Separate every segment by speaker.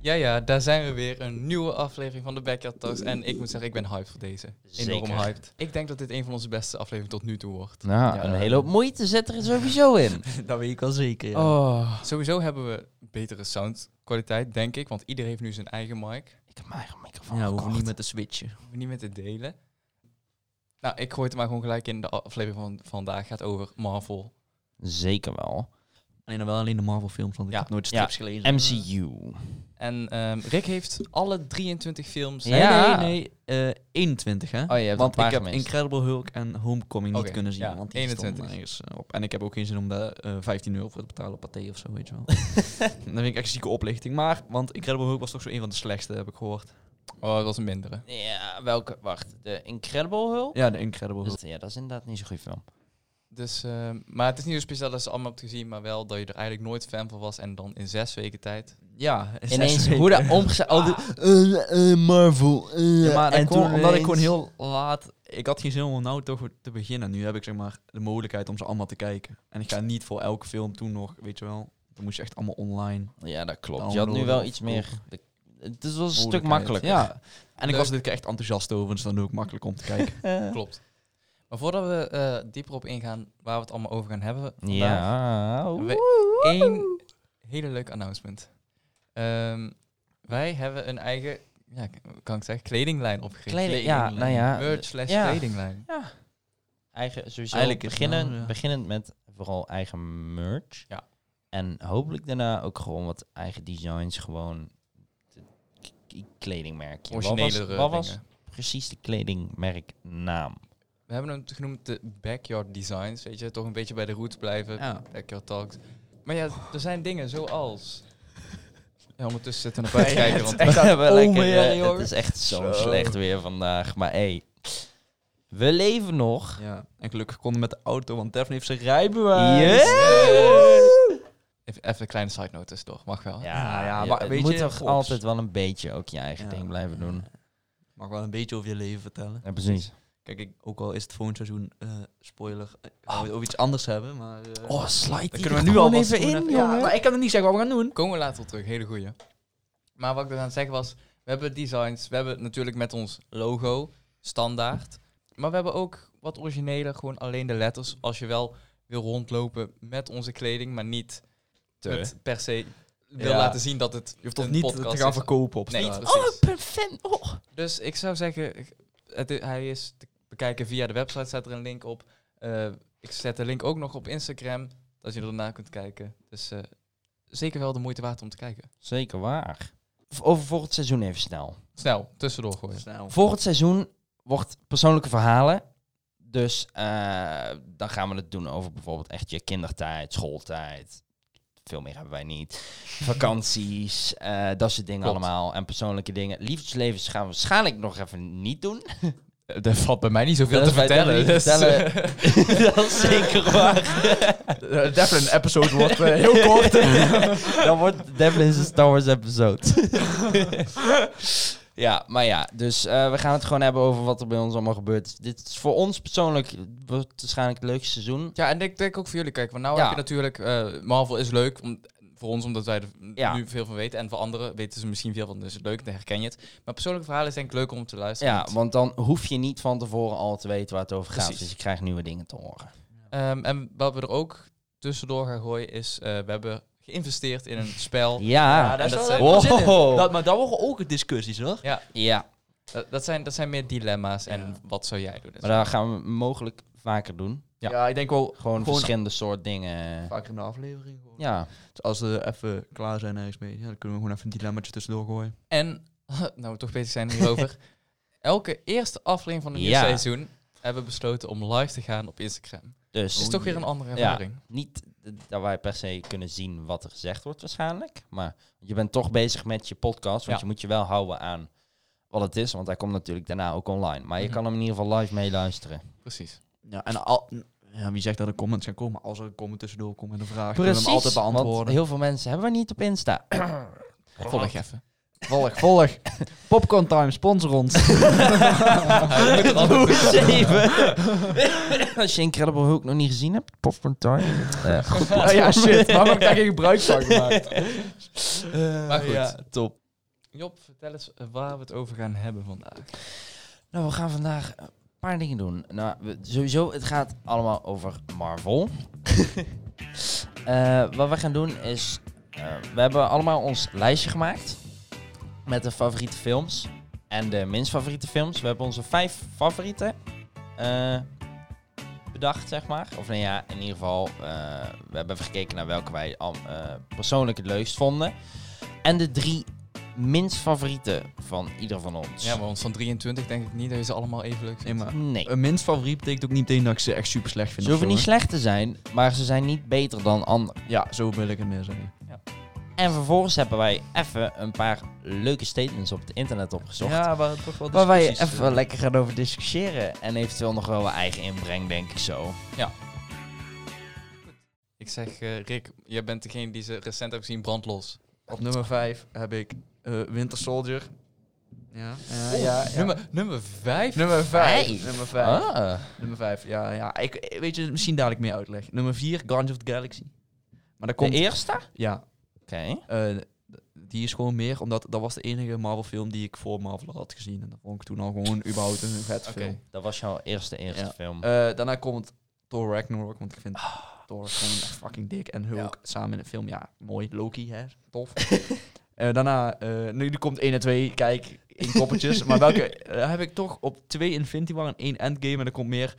Speaker 1: Ja, ja, daar zijn we weer. Een nieuwe aflevering van de Backyard Talks. En ik moet zeggen, ik ben hyped voor deze. Enorm
Speaker 2: Zeker.
Speaker 1: hyped. Ik denk dat dit een van onze beste afleveringen tot nu toe wordt.
Speaker 2: Nou,
Speaker 3: Ja.
Speaker 2: een hele hoop moeite zit er sowieso in.
Speaker 3: Dat weet ik al zeker. Ja.
Speaker 2: Oh,
Speaker 1: Sowieso hebben we betere soundkwaliteit, denk ik. Want iedereen heeft nu zijn eigen mic.
Speaker 2: ik heb mijn eigen microfoon
Speaker 3: ja, we hoeven
Speaker 2: gekocht.
Speaker 3: niet met de switchen.
Speaker 1: Hoeven we niet meer te delen. Nou, ik gooi het maar gewoon gelijk in. De aflevering van vandaag gaat over Marvel.
Speaker 2: Zeker wel.
Speaker 3: Alleen dan wel alleen de Marvel films, want ik
Speaker 1: Ja.
Speaker 3: heb nooit
Speaker 2: Ja. Oh,
Speaker 3: strips gelezen.
Speaker 2: MCU.
Speaker 1: En ehm, Rick heeft alle 23 films.
Speaker 3: Nee,
Speaker 2: Ja.
Speaker 3: nee, nee. eh, 21, hè?
Speaker 2: Oh, je hebt
Speaker 3: want
Speaker 2: een
Speaker 3: ik
Speaker 2: paar
Speaker 3: heb
Speaker 2: gemist.
Speaker 3: Incredible Hulk en Homecoming
Speaker 1: Oké,
Speaker 3: niet kunnen zien.
Speaker 1: ja,
Speaker 3: want die
Speaker 1: 21.
Speaker 3: stonden ergens, eh, op. En ik heb ook geen zin om daar eh, 15 euro voor te betalen op Pathé of zo, weet je wel. dan vind ik echt zieke oplichting. Maar, want Incredible Hulk was toch zo een van de slechtste, heb ik gehoord.
Speaker 1: Oh, dat was een mindere.
Speaker 2: Ja, welke? Wacht, de Incredible Hulk?
Speaker 3: Ja, de Incredible
Speaker 2: Dus-
Speaker 3: Hulk.
Speaker 2: ja, dat is inderdaad niet zo'n goede film.
Speaker 1: Dus, ehm, maar het is niet zo speciaal dat ze allemaal hebt gezien, maar wel dat je er eigenlijk nooit fan van was en dan in zes weken tijd.
Speaker 3: Ja, zes
Speaker 2: Ineens,
Speaker 3: weken.
Speaker 2: hoe oh, dat omgezet... al die- eh, eh, Marvel. eh,
Speaker 3: Ja, maar
Speaker 2: en
Speaker 3: dat kwam
Speaker 2: toen
Speaker 3: omdat ik
Speaker 2: ineens-
Speaker 3: gewoon heel laat... Ik had geen zin om nou toch te beginnen. Nu heb ik zeg maar de mogelijkheid om ze allemaal te kijken. En ik ga niet voor elke film toen nog, weet je wel. Dan moest je echt allemaal online.
Speaker 2: Ja, dat klopt. Je had
Speaker 3: Downloaden
Speaker 2: nu wel
Speaker 3: of
Speaker 2: iets meer... de- Het was een stuk
Speaker 3: mogelijkheid.
Speaker 2: makkelijker.
Speaker 3: Ja. En ik
Speaker 1: Leuk.
Speaker 3: was dit keer echt enthousiast over, dus dan ook makkelijk om te kijken.
Speaker 1: Klopt. Maar voordat we eh, dieper op ingaan waar we het allemaal over gaan hebben, vandaag,
Speaker 2: Ja.
Speaker 1: We-
Speaker 2: Woehoe.
Speaker 1: één hele leuk announcement. Ehm, wij hebben een eigen, ja, k- kan ik zeggen, kledinglijn opgericht.
Speaker 2: Kleding, ja, nou ja.
Speaker 1: Merch slash
Speaker 2: Ja.
Speaker 1: kledinglijn.
Speaker 2: Eigen, sowieso
Speaker 3: Eigenlijk is het
Speaker 2: beginnen,
Speaker 3: wel, ja.
Speaker 2: beginnend met vooral eigen merch.
Speaker 1: Ja.
Speaker 2: En hopelijk daarna ook gewoon wat eigen designs, gewoon de k- k- kledingmerkje. Wat was-
Speaker 1: Originelere
Speaker 2: Wat was,
Speaker 1: dingen.
Speaker 2: precies de kledingmerknaam?
Speaker 1: We hebben hem genoemd de Backyard Designs, weet je, toch een beetje bij de roots blijven.
Speaker 3: Ja.
Speaker 1: Backyard Talks. Maar ja, er zijn dingen zoals... Ja, ondertussen zitten we naar buiten kijken, want
Speaker 2: We
Speaker 3: Oh,
Speaker 2: hebben lekker,
Speaker 3: onweer,
Speaker 2: eh,
Speaker 3: jongen.
Speaker 2: het is echt zo,
Speaker 3: Zo.
Speaker 2: slecht weer vandaag. Maar hey, we leven nog.
Speaker 3: Ja, en gelukkig konden we met de auto, want Devin heeft zijn rijbewijs.
Speaker 2: Yes!
Speaker 1: Even, even een kleine side note tussendoor, mag wel. Ja.
Speaker 2: Ja,
Speaker 3: ja,
Speaker 2: ja,
Speaker 3: maar
Speaker 2: het
Speaker 3: weet
Speaker 2: moet
Speaker 3: je,
Speaker 2: toch
Speaker 3: props.
Speaker 2: altijd wel een beetje ook je eigen
Speaker 3: Ja.
Speaker 2: ding blijven doen.
Speaker 3: Mag wel een beetje over je leven vertellen.
Speaker 2: Ja, precies.
Speaker 3: Kijk, ik, ook al is het volgende seizoen, eh, spoiler, eh, gaan we het over iets anders hebben, maar... eh,
Speaker 2: Oh, slide
Speaker 3: dan
Speaker 2: die
Speaker 3: kunnen
Speaker 2: er
Speaker 3: we nu
Speaker 2: gewoon
Speaker 3: alvast
Speaker 2: even in,
Speaker 3: gewoon
Speaker 2: jongen.
Speaker 3: Ja, maar ik kan het niet zeggen wat we gaan doen.
Speaker 1: Komen we later op terug, hele goeie. Maar wat ik dus aan het zeggen was, we hebben designs, we hebben natuurlijk met ons logo, standaard. Maar we hebben ook wat origineler, gewoon alleen de letters. Als je wel wil rondlopen met onze kleding, maar niet
Speaker 2: Te.
Speaker 1: met per se wil
Speaker 2: Ja.
Speaker 1: laten zien dat het
Speaker 3: Je hoeft toch
Speaker 1: een
Speaker 3: niet
Speaker 1: podcast
Speaker 3: te gaan
Speaker 1: is.
Speaker 3: verkopen op
Speaker 1: Nee,
Speaker 3: straat.
Speaker 1: precies.
Speaker 2: perfect. Oh.
Speaker 1: Dus ik zou zeggen, het, i- hij is te bekijken via de website, staat er een link op. Eh, ik zet de link ook nog op Instagram, dat je erna kunt kijken. Dus eh, zeker wel de moeite waard om te kijken.
Speaker 2: Zeker waar. V- Over volgend seizoen even snel.
Speaker 1: Snel, tussendoor gooien.
Speaker 3: Snel.
Speaker 2: Volgend seizoen wordt persoonlijke verhalen. Dus eh, dan gaan we het doen over bijvoorbeeld echt je kindertijd, schooltijd. Veel meer hebben wij niet. Vakanties, eh, dat soort dingen
Speaker 1: Klopt.
Speaker 2: allemaal. En persoonlijke dingen. Liefdeslevens gaan we waarschijnlijk nog even niet doen.
Speaker 1: Er valt bij mij niet zoveel
Speaker 2: Dat te is bij vertellen, Devin niet dus, te dat is zeker waar.
Speaker 3: Devin episode wordt eh, heel kort.
Speaker 2: dan wordt Devlin een Star Wars episode. ja, maar ja. Dus eh, we gaan het gewoon hebben over wat er bij ons allemaal gebeurt. Dit is voor ons persoonlijk wordt waarschijnlijk het leukste seizoen.
Speaker 1: ja, en ik denk ook voor jullie, kijk, want nou
Speaker 2: Ja.
Speaker 1: heb je natuurlijk, eh, Marvel is leuk, om, voor ons omdat wij er
Speaker 2: Ja.
Speaker 1: nu veel van weten. En voor anderen weten ze misschien veel van, dus het is leuk, dan herken je het. Maar persoonlijke verhalen is denk ik leuk om te luisteren.
Speaker 2: Ja,
Speaker 1: want-
Speaker 2: want dan hoef je niet van tevoren al te weten waar het over gaat.
Speaker 1: Precies.
Speaker 2: Dus je krijgt nieuwe dingen te horen.
Speaker 1: Ehm, en wat we er ook tussendoor gaan gooien is, eh, we hebben geïnvesteerd in een spel.
Speaker 2: Oh. Ja,
Speaker 1: dat is wel
Speaker 2: leuk. Wow.
Speaker 3: Dat, maar daar worden ook discussies, hoor.
Speaker 1: Ja,
Speaker 2: ja.
Speaker 1: dat, dat zijn, dat zijn meer dilemma's en
Speaker 3: Ja.
Speaker 1: wat zou jij doen?
Speaker 2: maar dat gaan we mogelijk vaker doen.
Speaker 1: Ja.
Speaker 3: ik denk wel
Speaker 2: Gewoon,
Speaker 3: Gewoon-
Speaker 2: verschillende soort dingen.
Speaker 3: vaker in de aflevering. Gewoon.
Speaker 2: Ja,
Speaker 3: Dus als we even klaar zijn ergens mee, ja, dan kunnen we gewoon even een dilemmaatje tussendoor gooien.
Speaker 1: En, nou we toch bezig zijn hierover, elke eerste aflevering van het nieuwe
Speaker 2: Ja.
Speaker 1: seizoen hebben we besloten om live te gaan op Instagram.
Speaker 2: dus
Speaker 1: Het is
Speaker 3: Oh
Speaker 1: toch weer
Speaker 3: jee.
Speaker 1: een andere
Speaker 2: Ja.
Speaker 1: ervaring.
Speaker 2: niet d- dat wij per se kunnen zien wat er gezegd wordt waarschijnlijk. Maar je bent toch bezig met je podcast. Want
Speaker 1: Ja.
Speaker 2: je moet je wel houden aan wat het is. Want hij komt natuurlijk daarna ook online. Maar je
Speaker 1: Mhm.
Speaker 2: kan hem in ieder geval live meeluisteren.
Speaker 1: Precies.
Speaker 3: Ja, en al, ja, wie zegt dat er comments gaan komen? Als er een comment tussendoor komt en een vraag, kunnen we
Speaker 2: Precies,
Speaker 3: hem altijd
Speaker 2: want
Speaker 3: beantwoorden.
Speaker 2: heel veel mensen hebben we niet op Insta.
Speaker 1: Volg even.
Speaker 3: Volg, volg. Popcorn Time, sponsor ons.
Speaker 2: Doe eens even. Als je Incredible Hulk nog niet gezien hebt, popcorn time. Eh, goed.
Speaker 3: ja, shit. Waarom heb ik daar geen gebruik van gemaakt?
Speaker 1: Maar goed.
Speaker 3: top.
Speaker 1: Job, vertel eens eh, waar we het over gaan hebben vandaag.
Speaker 2: Nou, we gaan vandaag een paar dingen doen. Nou, we- sowieso, het gaat allemaal over Marvel. Eh, wat we gaan doen is, eh, we hebben allemaal ons lijstje gemaakt met de favoriete films en de minst favoriete films. We hebben onze vijf favorieten eh, bedacht, zeg maar. Of nou ja, in ieder geval, eh, we hebben even gekeken naar welke wij al, eh, persoonlijk het leukst vonden. En de drie minst favoriete van ieder van ons.
Speaker 1: Ja, maar ons van 23 denk ik niet dat je ze allemaal even leuk
Speaker 3: Nee,
Speaker 1: vindt.
Speaker 3: maar
Speaker 2: Nee.
Speaker 3: een minst favoriet betekent ook niet meteen dat ik ze echt super slecht vind.
Speaker 2: Ze hoeven
Speaker 3: of zo,
Speaker 2: niet slecht te zijn, maar ze zijn niet beter dan anderen.
Speaker 3: hè. Ja, zo wil ik het meer zeggen.
Speaker 2: En vervolgens hebben wij even een paar leuke statements op het internet opgezocht.
Speaker 1: Ja, waar het toch wel
Speaker 2: waar wij
Speaker 1: discussies,
Speaker 2: even
Speaker 1: eh,
Speaker 2: lekker gaan over discussiëren. En eventueel nog wel wat eigen inbreng, denk ik zo.
Speaker 1: Ik zeg, eh, Rick, jij bent degene die ze recent hebben gezien brandlos.
Speaker 3: Op nummer 5 heb ik eh, Winter Soldier. Ja, ja,
Speaker 1: Oh,
Speaker 3: ja, ja.
Speaker 1: Nummer, nummer vijf?
Speaker 3: Nummer 5.
Speaker 2: Vijf.
Speaker 3: Nummer 5.
Speaker 2: Ah.
Speaker 3: Nummer 5, ja. ja. Ik, eh, weet je, misschien dadelijk meer uitleg. Nummer 4, Guardians of the Galaxy. Maar daar
Speaker 2: De
Speaker 3: komt...
Speaker 2: eerste? Oké.
Speaker 3: ja, eh, d- die is gewoon meer, omdat dat was de enige Marvel film die ik voor Marvel had gezien. En dat vond ik toen al gewoon überhaupt een vet
Speaker 1: Oké.
Speaker 3: film.
Speaker 2: Dat was jouw eerste, eerste
Speaker 3: Ja.
Speaker 2: film.
Speaker 3: Eh, daarna komt Thor Ragnarok, want ik vind Thor gewoon echt fucking dik. En Hulk samen in een film, ja, mooi. Loki, hè, tof. Eh, daarna, eh, nu die komt 1 en 2, kijk, in koppeltjes. maar welke eh, heb ik toch op 2 Infinity War en 1 Endgame. En er komt meer,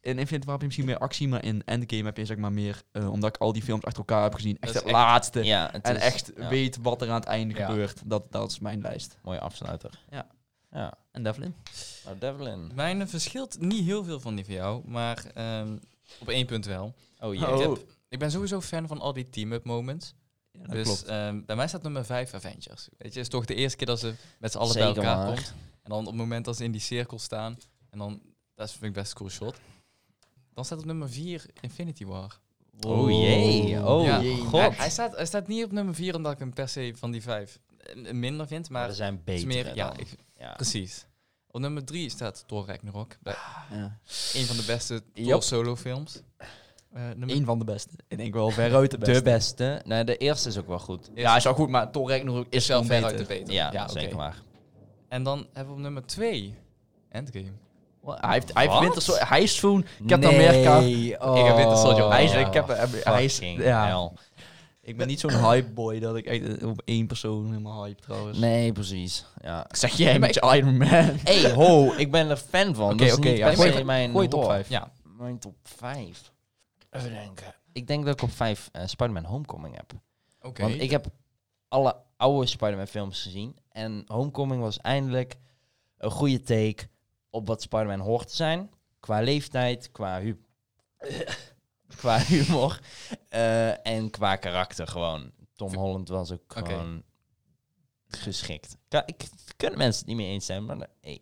Speaker 3: in Infinity War heb je misschien meer actie, maar in Endgame heb je zeg maar meer, eh, omdat ik al die films achter elkaar heb gezien, echt
Speaker 1: Dat
Speaker 3: de
Speaker 1: is echt-
Speaker 3: laatste.
Speaker 2: ja, het
Speaker 3: En
Speaker 2: is-
Speaker 3: echt
Speaker 2: ja,
Speaker 3: weet wat er aan het einde
Speaker 1: Ja.
Speaker 3: gebeurt. Dat, dat is mijn lijst.
Speaker 2: Mooie afsluiter.
Speaker 3: Ja.
Speaker 2: Ja.
Speaker 3: En Devlin?
Speaker 2: Nou, Devlin.
Speaker 1: Mijn eh, verschilt niet heel veel van die van jou, maar ehm, op één punt wel.
Speaker 2: Oh,
Speaker 1: Ik,
Speaker 2: jee.
Speaker 3: Oh.
Speaker 1: heb- ik ben sowieso fan van al die team-up moments.
Speaker 3: Ja, dat
Speaker 1: dus
Speaker 3: klopt.
Speaker 1: ehm, bij mij staat nummer 5 Avengers. Weet je, is toch de eerste keer dat ze met z'n allen
Speaker 2: Zeker
Speaker 1: bij elkaar
Speaker 2: waar.
Speaker 1: komt. En dan op het moment dat ze in die cirkel staan. En dan, dat vind ik best een cool shot. Dan staat op nummer 4 Infinity War.
Speaker 2: Oh, jee. Oh,
Speaker 1: Ja. Hij,
Speaker 2: god.
Speaker 1: hij staat, hij staat niet op nummer 4 omdat ik hem per se van die 5 minder vind. Maar
Speaker 2: er zijn
Speaker 1: het is
Speaker 2: betere
Speaker 1: meer, ja,
Speaker 2: dan.
Speaker 1: ik-
Speaker 2: ja. Ah.
Speaker 1: precies. Op nummer 3 staat Thor Ragnarok. Bij-
Speaker 3: Ja.
Speaker 1: Een van de beste
Speaker 2: Yep.
Speaker 1: Thor solo films. Eh nummer
Speaker 3: Eén van de beste. Ik denk wel veruit de beste.
Speaker 2: De beste. Nee, de eerste is ook wel goed.
Speaker 1: is-
Speaker 3: Ja, is wel goed, maar Thor Ragnarok is
Speaker 1: is
Speaker 3: wel
Speaker 1: wel
Speaker 3: beter.
Speaker 1: veruit de beter.
Speaker 2: Ja,
Speaker 1: oké.
Speaker 2: zeker waar.
Speaker 1: En dan hebben we op nummer 2 Endgame.
Speaker 3: Hij, heeft, hij, heeft
Speaker 2: Wat?
Speaker 3: Winter Soldier- hij is zo'n Captain America. oh.
Speaker 1: Ik heb Winter Soldier
Speaker 3: Hij is,
Speaker 1: Ja,
Speaker 3: ik, heb, heb- hij is,
Speaker 2: Fucking
Speaker 3: ja.
Speaker 2: hell.
Speaker 3: ik ben niet zo'n hype boy dat ik echt eh, op één persoon helemaal hype trouwens.
Speaker 2: Nee, precies. Ja.
Speaker 3: Ik zeg jij met je Iron Man.
Speaker 2: hey, ho, ik ben er fan van.
Speaker 3: Oké,
Speaker 2: dat is
Speaker 3: oké,
Speaker 2: niet
Speaker 3: ja,
Speaker 2: per
Speaker 3: gooi
Speaker 2: se
Speaker 3: het-
Speaker 2: mijn
Speaker 3: gooi het op
Speaker 2: hoor.
Speaker 3: vijf.
Speaker 1: Ja,
Speaker 2: Mijn top 5. Even denken. Ik denk dat ik op 5 eh Spider-Man Homecoming heb.
Speaker 1: oké.
Speaker 2: Want ik heb alle oude Spider-Man films gezien. En Homecoming was eindelijk een goede take op wat Spider-Man hoort te zijn. Qua leeftijd, qua, hu qua humor eh, en qua karakter gewoon. Tom Holland was ook
Speaker 1: Oké.
Speaker 2: gewoon geschikt. Ja, ik kunnen mensen het niet mee eens zijn, maar dan- hey,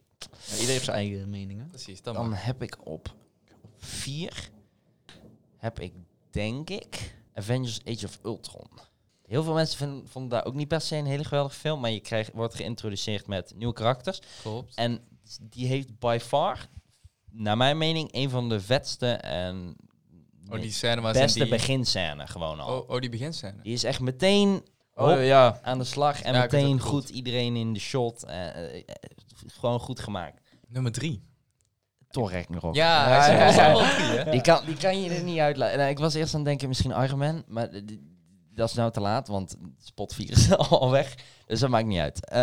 Speaker 3: Iedereen heeft zijn eigen meningen.
Speaker 1: Precies, dat
Speaker 2: dan
Speaker 1: mag.
Speaker 2: heb ik op 4 heb ik denk ik Avengers Age of Ultron. Heel veel mensen vinden, vonden daar ook niet per se een hele geweldige film, maar je krijgt, wordt geïntroduceerd met nieuwe karakters.
Speaker 1: Klopt.
Speaker 2: En die heeft by far, naar mijn mening, een van de vetste en
Speaker 1: Oh, die scène waar ze in
Speaker 2: beste
Speaker 1: die...
Speaker 2: beginscène gewoon al.
Speaker 1: Oh, oh, die beginscène.
Speaker 2: Die is echt meteen hop,
Speaker 3: Oh ja.
Speaker 2: aan de slag en
Speaker 1: Ja, ik heb het
Speaker 2: meteen
Speaker 1: ook
Speaker 2: goed
Speaker 1: gevoeld.
Speaker 2: iedereen in de shot. eh, eh, eh, gewoon goed gemaakt.
Speaker 1: Nummer drie.
Speaker 2: Toch Ragnarok.
Speaker 1: Ja,
Speaker 3: Ja,
Speaker 1: hij
Speaker 3: ja,
Speaker 1: is
Speaker 3: ja.
Speaker 1: wel drie, hè?
Speaker 2: Die, kan, die kan je er niet uitlaten. Nou, ik was eerst aan het denken, misschien Iron Man. Maar d- d- dat is nou te laat, want Spotvier is al weg. Dus dat maakt niet uit. Eh,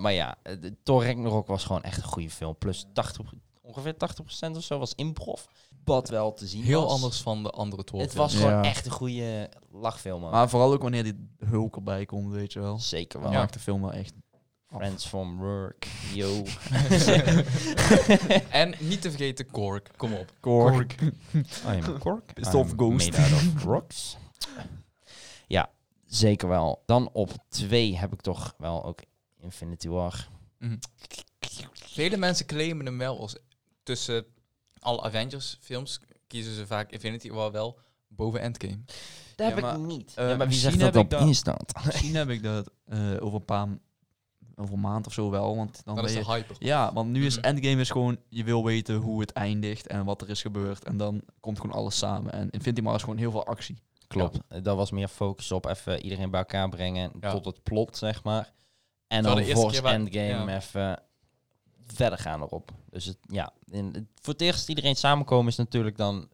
Speaker 2: maar ja, eh, de Thor Ragnarok was gewoon echt een goede film. Plus 80, ongeveer 80% of zo was improv. Wat wel te zien
Speaker 1: Heel
Speaker 2: was.
Speaker 1: anders van de andere Thor
Speaker 2: Het was
Speaker 3: Ja.
Speaker 2: gewoon echt een goede lachfilm. ook.
Speaker 3: Maar vooral ook wanneer die Hulk erbij komt, weet je wel.
Speaker 2: Zeker wel.
Speaker 3: Dat maakt de film wel echt... af.
Speaker 2: Friends from work.
Speaker 3: Oh,
Speaker 2: Yo.
Speaker 1: En niet te vergeten Kork, kom op.
Speaker 3: Kork.
Speaker 2: I'm Cork.
Speaker 3: Pissed off ghost.
Speaker 2: Ehm, Made out of rocks. ja, zeker wel. Dan op twee heb ik toch wel ook Infinity War.
Speaker 1: Vele mensen claimen hem wel als... Tussen alle Avengers films kiezen ze vaak Infinity War wel boven Endgame.
Speaker 2: Dat
Speaker 3: Ja,
Speaker 2: heb
Speaker 3: maar,
Speaker 2: ik niet.
Speaker 3: eh,
Speaker 2: ja, maar wie
Speaker 3: misschien
Speaker 2: zegt dat
Speaker 3: heb
Speaker 2: op
Speaker 3: ik dat-
Speaker 2: instaat?
Speaker 3: Misschien heb ik dat eh, over een paar... Over een maand of zo wel, want dan
Speaker 1: Dat
Speaker 3: ben
Speaker 1: is
Speaker 3: je
Speaker 1: de hyper.
Speaker 3: Ja, want nu is
Speaker 1: Mhm.
Speaker 3: Endgame is gewoon, je wil weten hoe het eindigt en wat er is gebeurd. En dan komt gewoon alles samen. En Infinity War is gewoon heel veel actie.
Speaker 2: Eh, Klopt. Dat was meer focus op even iedereen bij elkaar brengen
Speaker 1: Ja.
Speaker 2: tot het plot, zeg maar. En
Speaker 1: Terwijl
Speaker 2: dan
Speaker 1: de eerste
Speaker 2: volgens
Speaker 1: keer wa-
Speaker 2: Endgame
Speaker 1: ja.
Speaker 2: even verder gaan erop. Dus het, ja, in, het- voor het eerst iedereen samenkomen is natuurlijk dan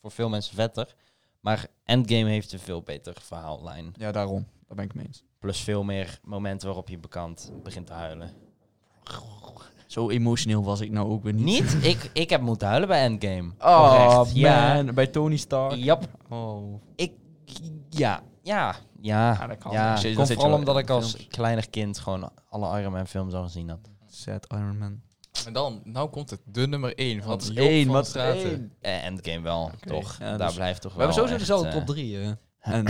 Speaker 2: voor veel mensen vetter. Maar Endgame heeft een veel beter verhaallijn.
Speaker 3: Ja, daarom. Daar ben ik mee eens.
Speaker 2: Plus veel meer momenten waarop je bekant begint te huilen.
Speaker 3: Zo emotioneel was ik nou ook weer niet.
Speaker 2: Niet? ik, ik heb moeten huilen bij Endgame.
Speaker 3: Oh,
Speaker 2: Oprecht,
Speaker 3: Ja.
Speaker 2: Ja.
Speaker 3: Bij Tony Stark.
Speaker 2: Jap.
Speaker 3: Oh.
Speaker 2: Ik, ja, ja, ja.
Speaker 3: Ja, dat kan.
Speaker 2: ja.
Speaker 3: Nog steeds- nog
Speaker 2: Komt
Speaker 3: steeds
Speaker 2: vooral
Speaker 3: wel
Speaker 2: omdat
Speaker 3: in
Speaker 2: ik als
Speaker 3: films.
Speaker 2: kleiner kind gewoon alle Iron Man films al gezien had.
Speaker 3: Sad Iron Man.
Speaker 1: En dan, nou komt het, de nummer 1 van
Speaker 3: Wat is
Speaker 1: Job
Speaker 3: één,
Speaker 1: van
Speaker 3: wat is
Speaker 1: Straten.
Speaker 3: één?
Speaker 2: Eh, Endgame wel, toch?
Speaker 3: Ja,
Speaker 2: Daar
Speaker 3: dus-
Speaker 2: blijft toch
Speaker 3: We
Speaker 2: wel
Speaker 3: hebben sowieso
Speaker 2: echt,
Speaker 3: dezelfde
Speaker 2: eh,
Speaker 3: top 3, hè?
Speaker 2: En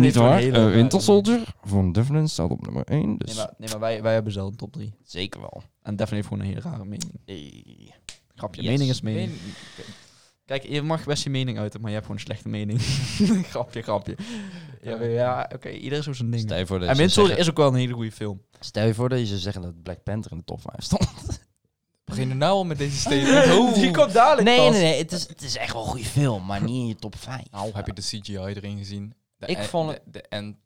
Speaker 3: Niet waar? Eh, Winter
Speaker 2: Soldier van Devlin staat op nummer dus 1,
Speaker 3: Nee, maar, nee, maar wij, wij hebben zelf een top 3.
Speaker 2: Zeker wel.
Speaker 3: En Devin heeft gewoon een hele rare mening.
Speaker 2: Nee.
Speaker 3: Grapje.
Speaker 2: Yes.
Speaker 3: Mening is mening.
Speaker 1: Meen-
Speaker 3: Kijk, je mag best je mening uiten, maar je hebt gewoon een slechte mening. grapje, grapje. Ja, ja, oké. Iedereen zo zijn ding.
Speaker 2: Stel je voor dat
Speaker 3: En
Speaker 2: je
Speaker 3: Winter
Speaker 2: zou zeggen,
Speaker 3: Soldier is ook wel een hele goede film.
Speaker 2: stel je voor dat je zou zeggen dat Black Panther in de top 5 stond.
Speaker 1: Begin je nou al met deze statement? Oh.
Speaker 3: dadelijk
Speaker 2: Nee, nee, nee. Het is, het is echt wel een goede film, maar niet in je top 5.
Speaker 1: Nou, heb je de CGI erin gezien? De
Speaker 2: Ik
Speaker 1: e-
Speaker 2: vond het-
Speaker 1: De, de end,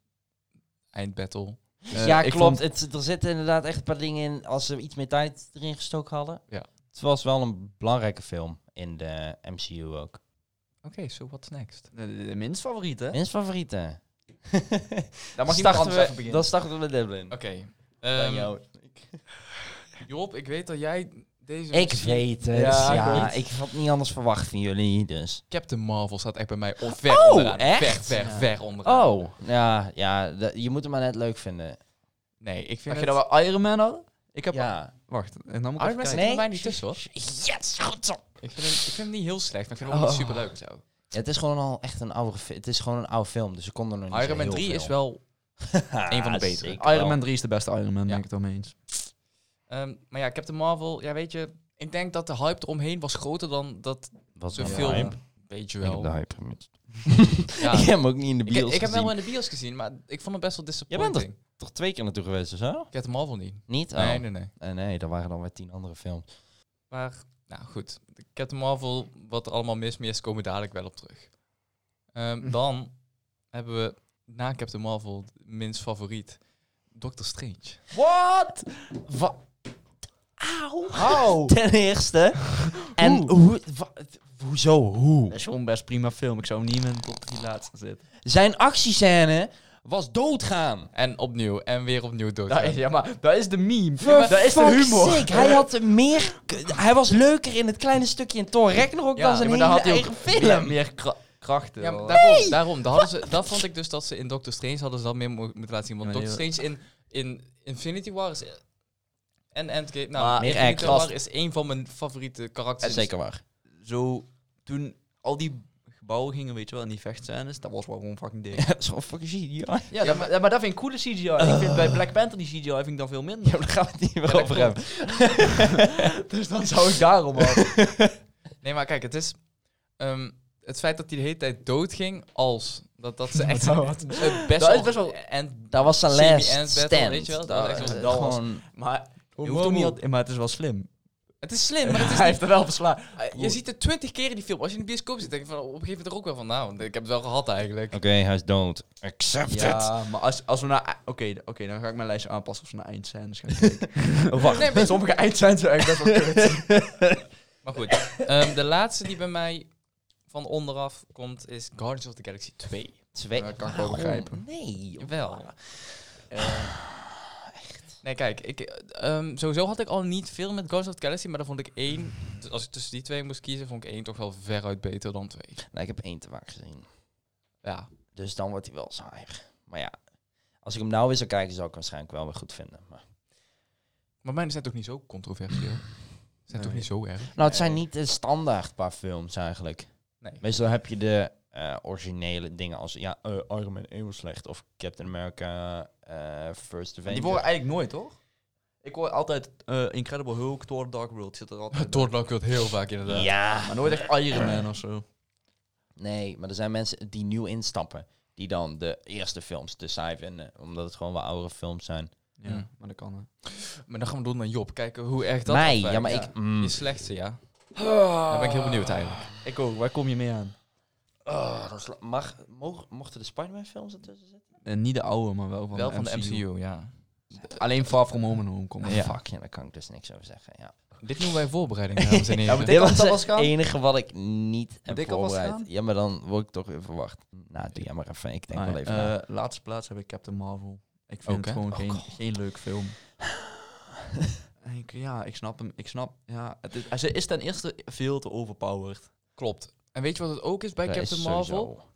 Speaker 1: eindbattle.
Speaker 2: ja,
Speaker 3: Eh, ik
Speaker 2: klopt.
Speaker 3: vond-
Speaker 2: Het, er zitten inderdaad echt een paar dingen in als ze iets meer tijd erin gestoken hadden.
Speaker 1: Ja.
Speaker 2: Het was wel een belangrijke film in de MCU ook.
Speaker 1: Oké, so what's next?
Speaker 3: De, de- de minst favoriet, hè?
Speaker 2: Mijn favorieten.
Speaker 3: Daar
Speaker 2: Dan
Speaker 3: mag iemand anders even
Speaker 2: starten we,
Speaker 3: beginnen.
Speaker 2: dan starten we met Devlin.
Speaker 1: Oké.
Speaker 2: Bij
Speaker 1: ehm,
Speaker 2: jou.
Speaker 1: Job, ik weet dat jij deze...
Speaker 2: Ik weet het.
Speaker 3: Ja,
Speaker 2: Ja,
Speaker 3: ik
Speaker 2: ik, had niet anders verwacht van jullie, dus.
Speaker 1: Captain Marvel staat echt bij mij on- ver onderaan. Ver,
Speaker 2: Oh, echt?
Speaker 1: ver,
Speaker 3: Ja.
Speaker 1: ver onderaan.
Speaker 2: Oh, ja, ja d- je moet hem maar net leuk vinden.
Speaker 1: Nee, ik vind
Speaker 3: Mag je
Speaker 1: het...
Speaker 3: dan wel Iron Man hadden? Ik heb...
Speaker 2: Ja.
Speaker 3: Wacht, en dan moet
Speaker 1: Iron
Speaker 3: ik even
Speaker 1: Man zit
Speaker 3: kijken.
Speaker 1: er bij
Speaker 2: Nee.
Speaker 1: mij niet tussen, hoor.
Speaker 2: Yes, goed zo.
Speaker 1: Ik vind, hem, ik vind hem niet heel slecht, maar ik vind hem ook niet
Speaker 2: Oh.
Speaker 1: super leuk zo.
Speaker 2: Ja, het is gewoon al echt een oude, fi- het is gewoon een oude film, dus ze konden er nog niet
Speaker 1: Iron Man 3 is wel... een van de betere.
Speaker 3: Iron Man 3 is de beste Iron Man,
Speaker 1: Ja.
Speaker 3: ben ik het ermee eens.
Speaker 1: ehm, maar ja, Captain Marvel, ja weet je... Ik denk dat de hype eromheen was groter dan dat
Speaker 2: was
Speaker 1: de
Speaker 3: de
Speaker 1: film...
Speaker 3: hype?
Speaker 1: Weet je wel. Ja.
Speaker 2: hype gemist. Ik heb hem ook niet in de
Speaker 1: Ik,
Speaker 2: bios
Speaker 1: ik heb hem
Speaker 2: gezien.
Speaker 1: wel in de bios gezien, maar ik vond hem best wel
Speaker 2: bent er-
Speaker 1: disappointing.
Speaker 2: toch twee keer naartoe geweest of zo?
Speaker 1: Captain Marvel niet.
Speaker 2: Niet? Oh.
Speaker 1: Nee,
Speaker 2: Nee,
Speaker 1: nee, nee.
Speaker 2: nee. er waren dan weer tien andere films.
Speaker 1: Maar, nou goed. Captain Marvel, wat er allemaal mis mee is, komen we dadelijk wel op terug. Ehm,
Speaker 3: Hm.
Speaker 1: Dan hebben we nou, na Captain Marvel, minst favoriet, Doctor Strange.
Speaker 2: What? Wat? Auw.
Speaker 3: Auw!
Speaker 2: Ten eerste. en hoe, wa- hoezo? Hoe?
Speaker 3: Dat is gewoon best prima film. Ik zou hem niet in mijn top 3 laatste zitten.
Speaker 2: Zijn actiescène was doodgaan.
Speaker 1: En opnieuw, en weer opnieuw dood.
Speaker 3: Dat is, ja, maar dat is de meme.
Speaker 2: For
Speaker 3: dat is de
Speaker 2: fuck's
Speaker 3: humor.
Speaker 2: sake, Hij had meer... k- Hij was leuker in het kleine stukje in Thor Ragnarok
Speaker 1: Ja,
Speaker 2: dan zijn
Speaker 3: maar
Speaker 2: hele
Speaker 3: daar had hij ook
Speaker 2: eigen film.
Speaker 3: Meer, meer kra- krachten.
Speaker 1: Ja, maar
Speaker 3: hoor.
Speaker 1: daarom, daarom. Daar hadden ze, dat vond ik dus dat ze in Doctor Strange hadden ze dat meer mo- moeten laten zien. Want
Speaker 3: Ja, maar
Speaker 1: Doctor Strange in, in Infinity War is... En Endgame... Nou,
Speaker 3: Maar-
Speaker 2: Meer
Speaker 1: Infinity
Speaker 2: act.
Speaker 1: War is een van mijn favoriete karakters.
Speaker 2: waar.
Speaker 3: Zo, toen al die gebouwen gingen, weet je wel, en die vechtscènes, dat was wel gewoon fucking dik.
Speaker 2: Zo fucking shit, ja.
Speaker 3: Ja, dat- maar, maar dat vind ik coole CGI. Ik vind bij Black Panther die CGI vind ik dan veel minder.
Speaker 2: Ja, maar daar gaan we het niet meer
Speaker 1: dat
Speaker 2: over
Speaker 1: klopt.
Speaker 2: hebben.
Speaker 3: dus dan zou ik daarom al.
Speaker 1: Nee, maar kijk, het is... ehm, het feit dat hij de hele tijd doodging als... Dat, dat ze echt... eh, best
Speaker 3: Dat is
Speaker 1: wel-
Speaker 3: best wel-
Speaker 1: En
Speaker 2: Dat was zijn
Speaker 1: Semi-end
Speaker 2: last
Speaker 1: battle,
Speaker 2: stand.
Speaker 1: weet je wel? Dat
Speaker 2: Dat,
Speaker 1: was echt
Speaker 3: wel-
Speaker 2: eh,
Speaker 3: dat was-
Speaker 2: gewoon...
Speaker 3: Maar, je
Speaker 1: hoeft hem
Speaker 3: niet
Speaker 1: niet
Speaker 3: maar het is wel slim.
Speaker 1: het is slim, maar het is
Speaker 3: Hij
Speaker 1: niet-
Speaker 3: heeft er wel verslagen.
Speaker 1: Je ziet het twintig keer in die film. Als je in de bioscoop zit, denk je van... Op een gegeven moment er ook wel van... Nou, ik heb het wel gehad eigenlijk.
Speaker 2: hij is dood. Accept
Speaker 3: Ja, maar als, als we naar... Oké, oké, dan ga ik mijn lijstje aanpassen als we naar eindscènes gaan kijken. Oh, wacht,
Speaker 1: Nee, maar-
Speaker 3: sommige eindscènes zijn eigenlijk best wel kut.
Speaker 1: Maar goed, ehm, de laatste die bij mij van onderaf komt is Guardians of the Galaxy 2.
Speaker 2: Twee.
Speaker 3: Dat kan ik wel
Speaker 2: Waarom?
Speaker 3: begrijpen.
Speaker 2: Nee. Ah.
Speaker 1: Wel.
Speaker 2: Eh.
Speaker 1: Nee, kijk, ik, eh, ehm, sowieso had ik al niet veel met Guardians of the Galaxy, maar dan vond ik één... dus Als ik tussen die twee moest kiezen, vond ik één toch wel veruit beter dan twee.
Speaker 2: Nou, ik heb één te vaak gezien.
Speaker 1: Ja,
Speaker 2: Dus dan wordt hij wel saaier. Maar ja, als ik hem nou weer zou kijken, zou ik hem waarschijnlijk wel weer goed vinden. Maar...
Speaker 1: maar mijn zijn toch niet zo controversieel? Zijn toch
Speaker 3: Nee.
Speaker 1: niet zo erg?
Speaker 2: Nou, het zijn niet de standaard paar films eigenlijk.
Speaker 1: Nee.
Speaker 2: Meestal heb je de eh, originele dingen als... Ja, eh, Iron Man 1 was slecht. Of Captain America, eh, First Avenger.
Speaker 3: Die worden eigenlijk nooit, toch? Ik hoor altijd eh, Incredible Hulk, Thor Dark World zit er altijd bij.
Speaker 1: Thor Love wordt heel vaak inderdaad.
Speaker 2: Ja.
Speaker 3: eh, Maar nooit echt Iron Man of zo.
Speaker 2: Nee, maar er zijn mensen die nieuw instappen. Die dan de eerste films te saai vinden. Omdat het gewoon wel oudere films zijn.
Speaker 3: Ja,
Speaker 1: Hmm.
Speaker 3: maar dat kan. hè.
Speaker 1: Maar dan gaan we door naar Job, kijken hoe erg dat
Speaker 2: mij,
Speaker 1: afwijkt.
Speaker 2: ja, maar
Speaker 1: Ja.
Speaker 2: ik... mm.
Speaker 1: Je slechtste, ja. Daar ben ik heel benieuwd eigenlijk.
Speaker 3: Ah. Ik ook, waar kom je mee aan?
Speaker 2: Oh, dat is la- mag, mogen- mochten de Spider-Man films ertussen zitten?
Speaker 3: Eh, niet de oude, maar wel van
Speaker 1: Wel
Speaker 3: de
Speaker 1: van de
Speaker 3: MCU.
Speaker 1: MCU, ja.
Speaker 3: Alleen Far From Home en Home Come.
Speaker 2: Ja. Fuck, ja, daar kan ik dus niks over zeggen. Ja.
Speaker 1: Dit noemen wij voorbereiding, dames en
Speaker 3: Ja,
Speaker 1: heren.
Speaker 3: maar
Speaker 2: Dit
Speaker 3: Dik
Speaker 2: was
Speaker 3: alvast
Speaker 2: het
Speaker 3: gaan?
Speaker 2: enige wat ik niet heb
Speaker 3: Dik alvast
Speaker 2: voorbereid.
Speaker 3: gaan?
Speaker 2: Ja, maar dan word ik toch weer verwacht. Nou, doe jij maar even. Ik denk
Speaker 1: Ah,
Speaker 2: wel even na.
Speaker 3: Eh, laatste plaats heb ik Captain Marvel. Ik vind
Speaker 1: Ook,
Speaker 3: het
Speaker 1: hè?
Speaker 3: gewoon
Speaker 2: Oh,
Speaker 3: geen,
Speaker 2: God.
Speaker 3: geen leuk film. En ik- ja, ik snap hem. Ik snap. Ja, het is, ze is ten eerste veel te overpowered.
Speaker 1: Klopt. En weet je wat het ook is bij
Speaker 2: Dat is
Speaker 1: Captain
Speaker 2: sowieso-
Speaker 1: Marvel?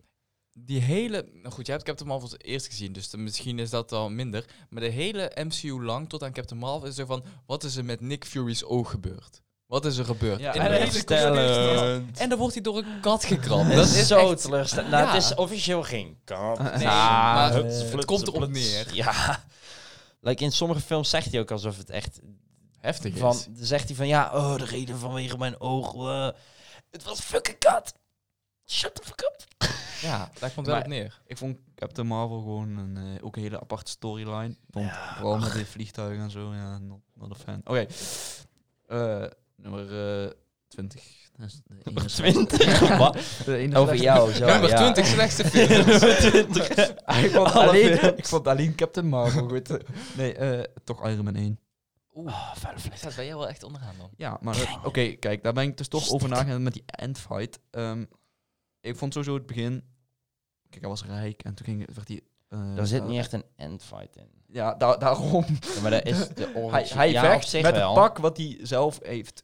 Speaker 1: Die hele... Nou goed, jij hebt Captain Marvel het eerst gezien, dus de- misschien is dat al minder. Maar de hele MCU lang tot aan Captain Marvel is er van... Wat is er met Nick Fury's oog gebeurd? Wat is er gebeurd?
Speaker 3: Ja,
Speaker 1: In
Speaker 3: en
Speaker 1: de
Speaker 3: dat
Speaker 1: hele
Speaker 3: is
Speaker 1: context-
Speaker 2: teleurstellend.
Speaker 1: En dan wordt hij door een kat gekrapt.
Speaker 2: Dat is zo
Speaker 1: echt-
Speaker 2: teleurstellend. Nou, het
Speaker 1: Ja.
Speaker 2: is officieel geen kant.
Speaker 1: Nee,
Speaker 2: Ah,
Speaker 1: maar
Speaker 2: hups,
Speaker 1: het
Speaker 2: fluts,
Speaker 1: komt erop
Speaker 2: fluts.
Speaker 1: neer.
Speaker 2: Ja. Like in sommige films zegt hij ook alsof het echt
Speaker 1: Heftig is.
Speaker 2: van... Dan zegt hij van, ja, oh, de reden vanwege mijn oog. eh, het was fucking kat. Shut the fuck up.
Speaker 1: Ja, daar komt wel
Speaker 3: Maar-
Speaker 1: op neer.
Speaker 3: Ik vond Captain Marvel gewoon een, eh, ook een hele aparte storyline. Vond
Speaker 2: Ja,
Speaker 3: vooral met die vliegtuigen en zo. Ja, not, not a fan. Oké. Eh, nummer eh, 20. Dat is de ene
Speaker 2: Twintig. Wat?
Speaker 3: slechtste- de ene
Speaker 2: Over
Speaker 3: slechtste-
Speaker 2: jou, zo.
Speaker 1: Nummer
Speaker 2: ja.
Speaker 1: 20 slechtste film.
Speaker 3: ik, vond
Speaker 2: Alle
Speaker 3: alleen,
Speaker 2: films.
Speaker 3: ik vond alleen Captain Marvel goed. Nee, eh, toch Iron Man 1.
Speaker 2: Oh, vuile vlees.
Speaker 1: Staat bij jou wel echt onderaan dan.
Speaker 3: Ja, maar eh, oké, kijk, daar ben ik dus toch over nagedacht met die endfight. Ehm, ik vond sowieso het begin... Kijk, hij was rijk en toen ging, werd hij... eh,
Speaker 2: Daar zit
Speaker 3: eh,
Speaker 2: niet echt een endfight in.
Speaker 3: Ja, da- daarom.
Speaker 2: Ja, maar dat is de origin.
Speaker 3: hij hij
Speaker 2: ja, op
Speaker 3: vecht
Speaker 2: zich
Speaker 3: met
Speaker 2: wel.
Speaker 3: het pak wat hij zelf heeft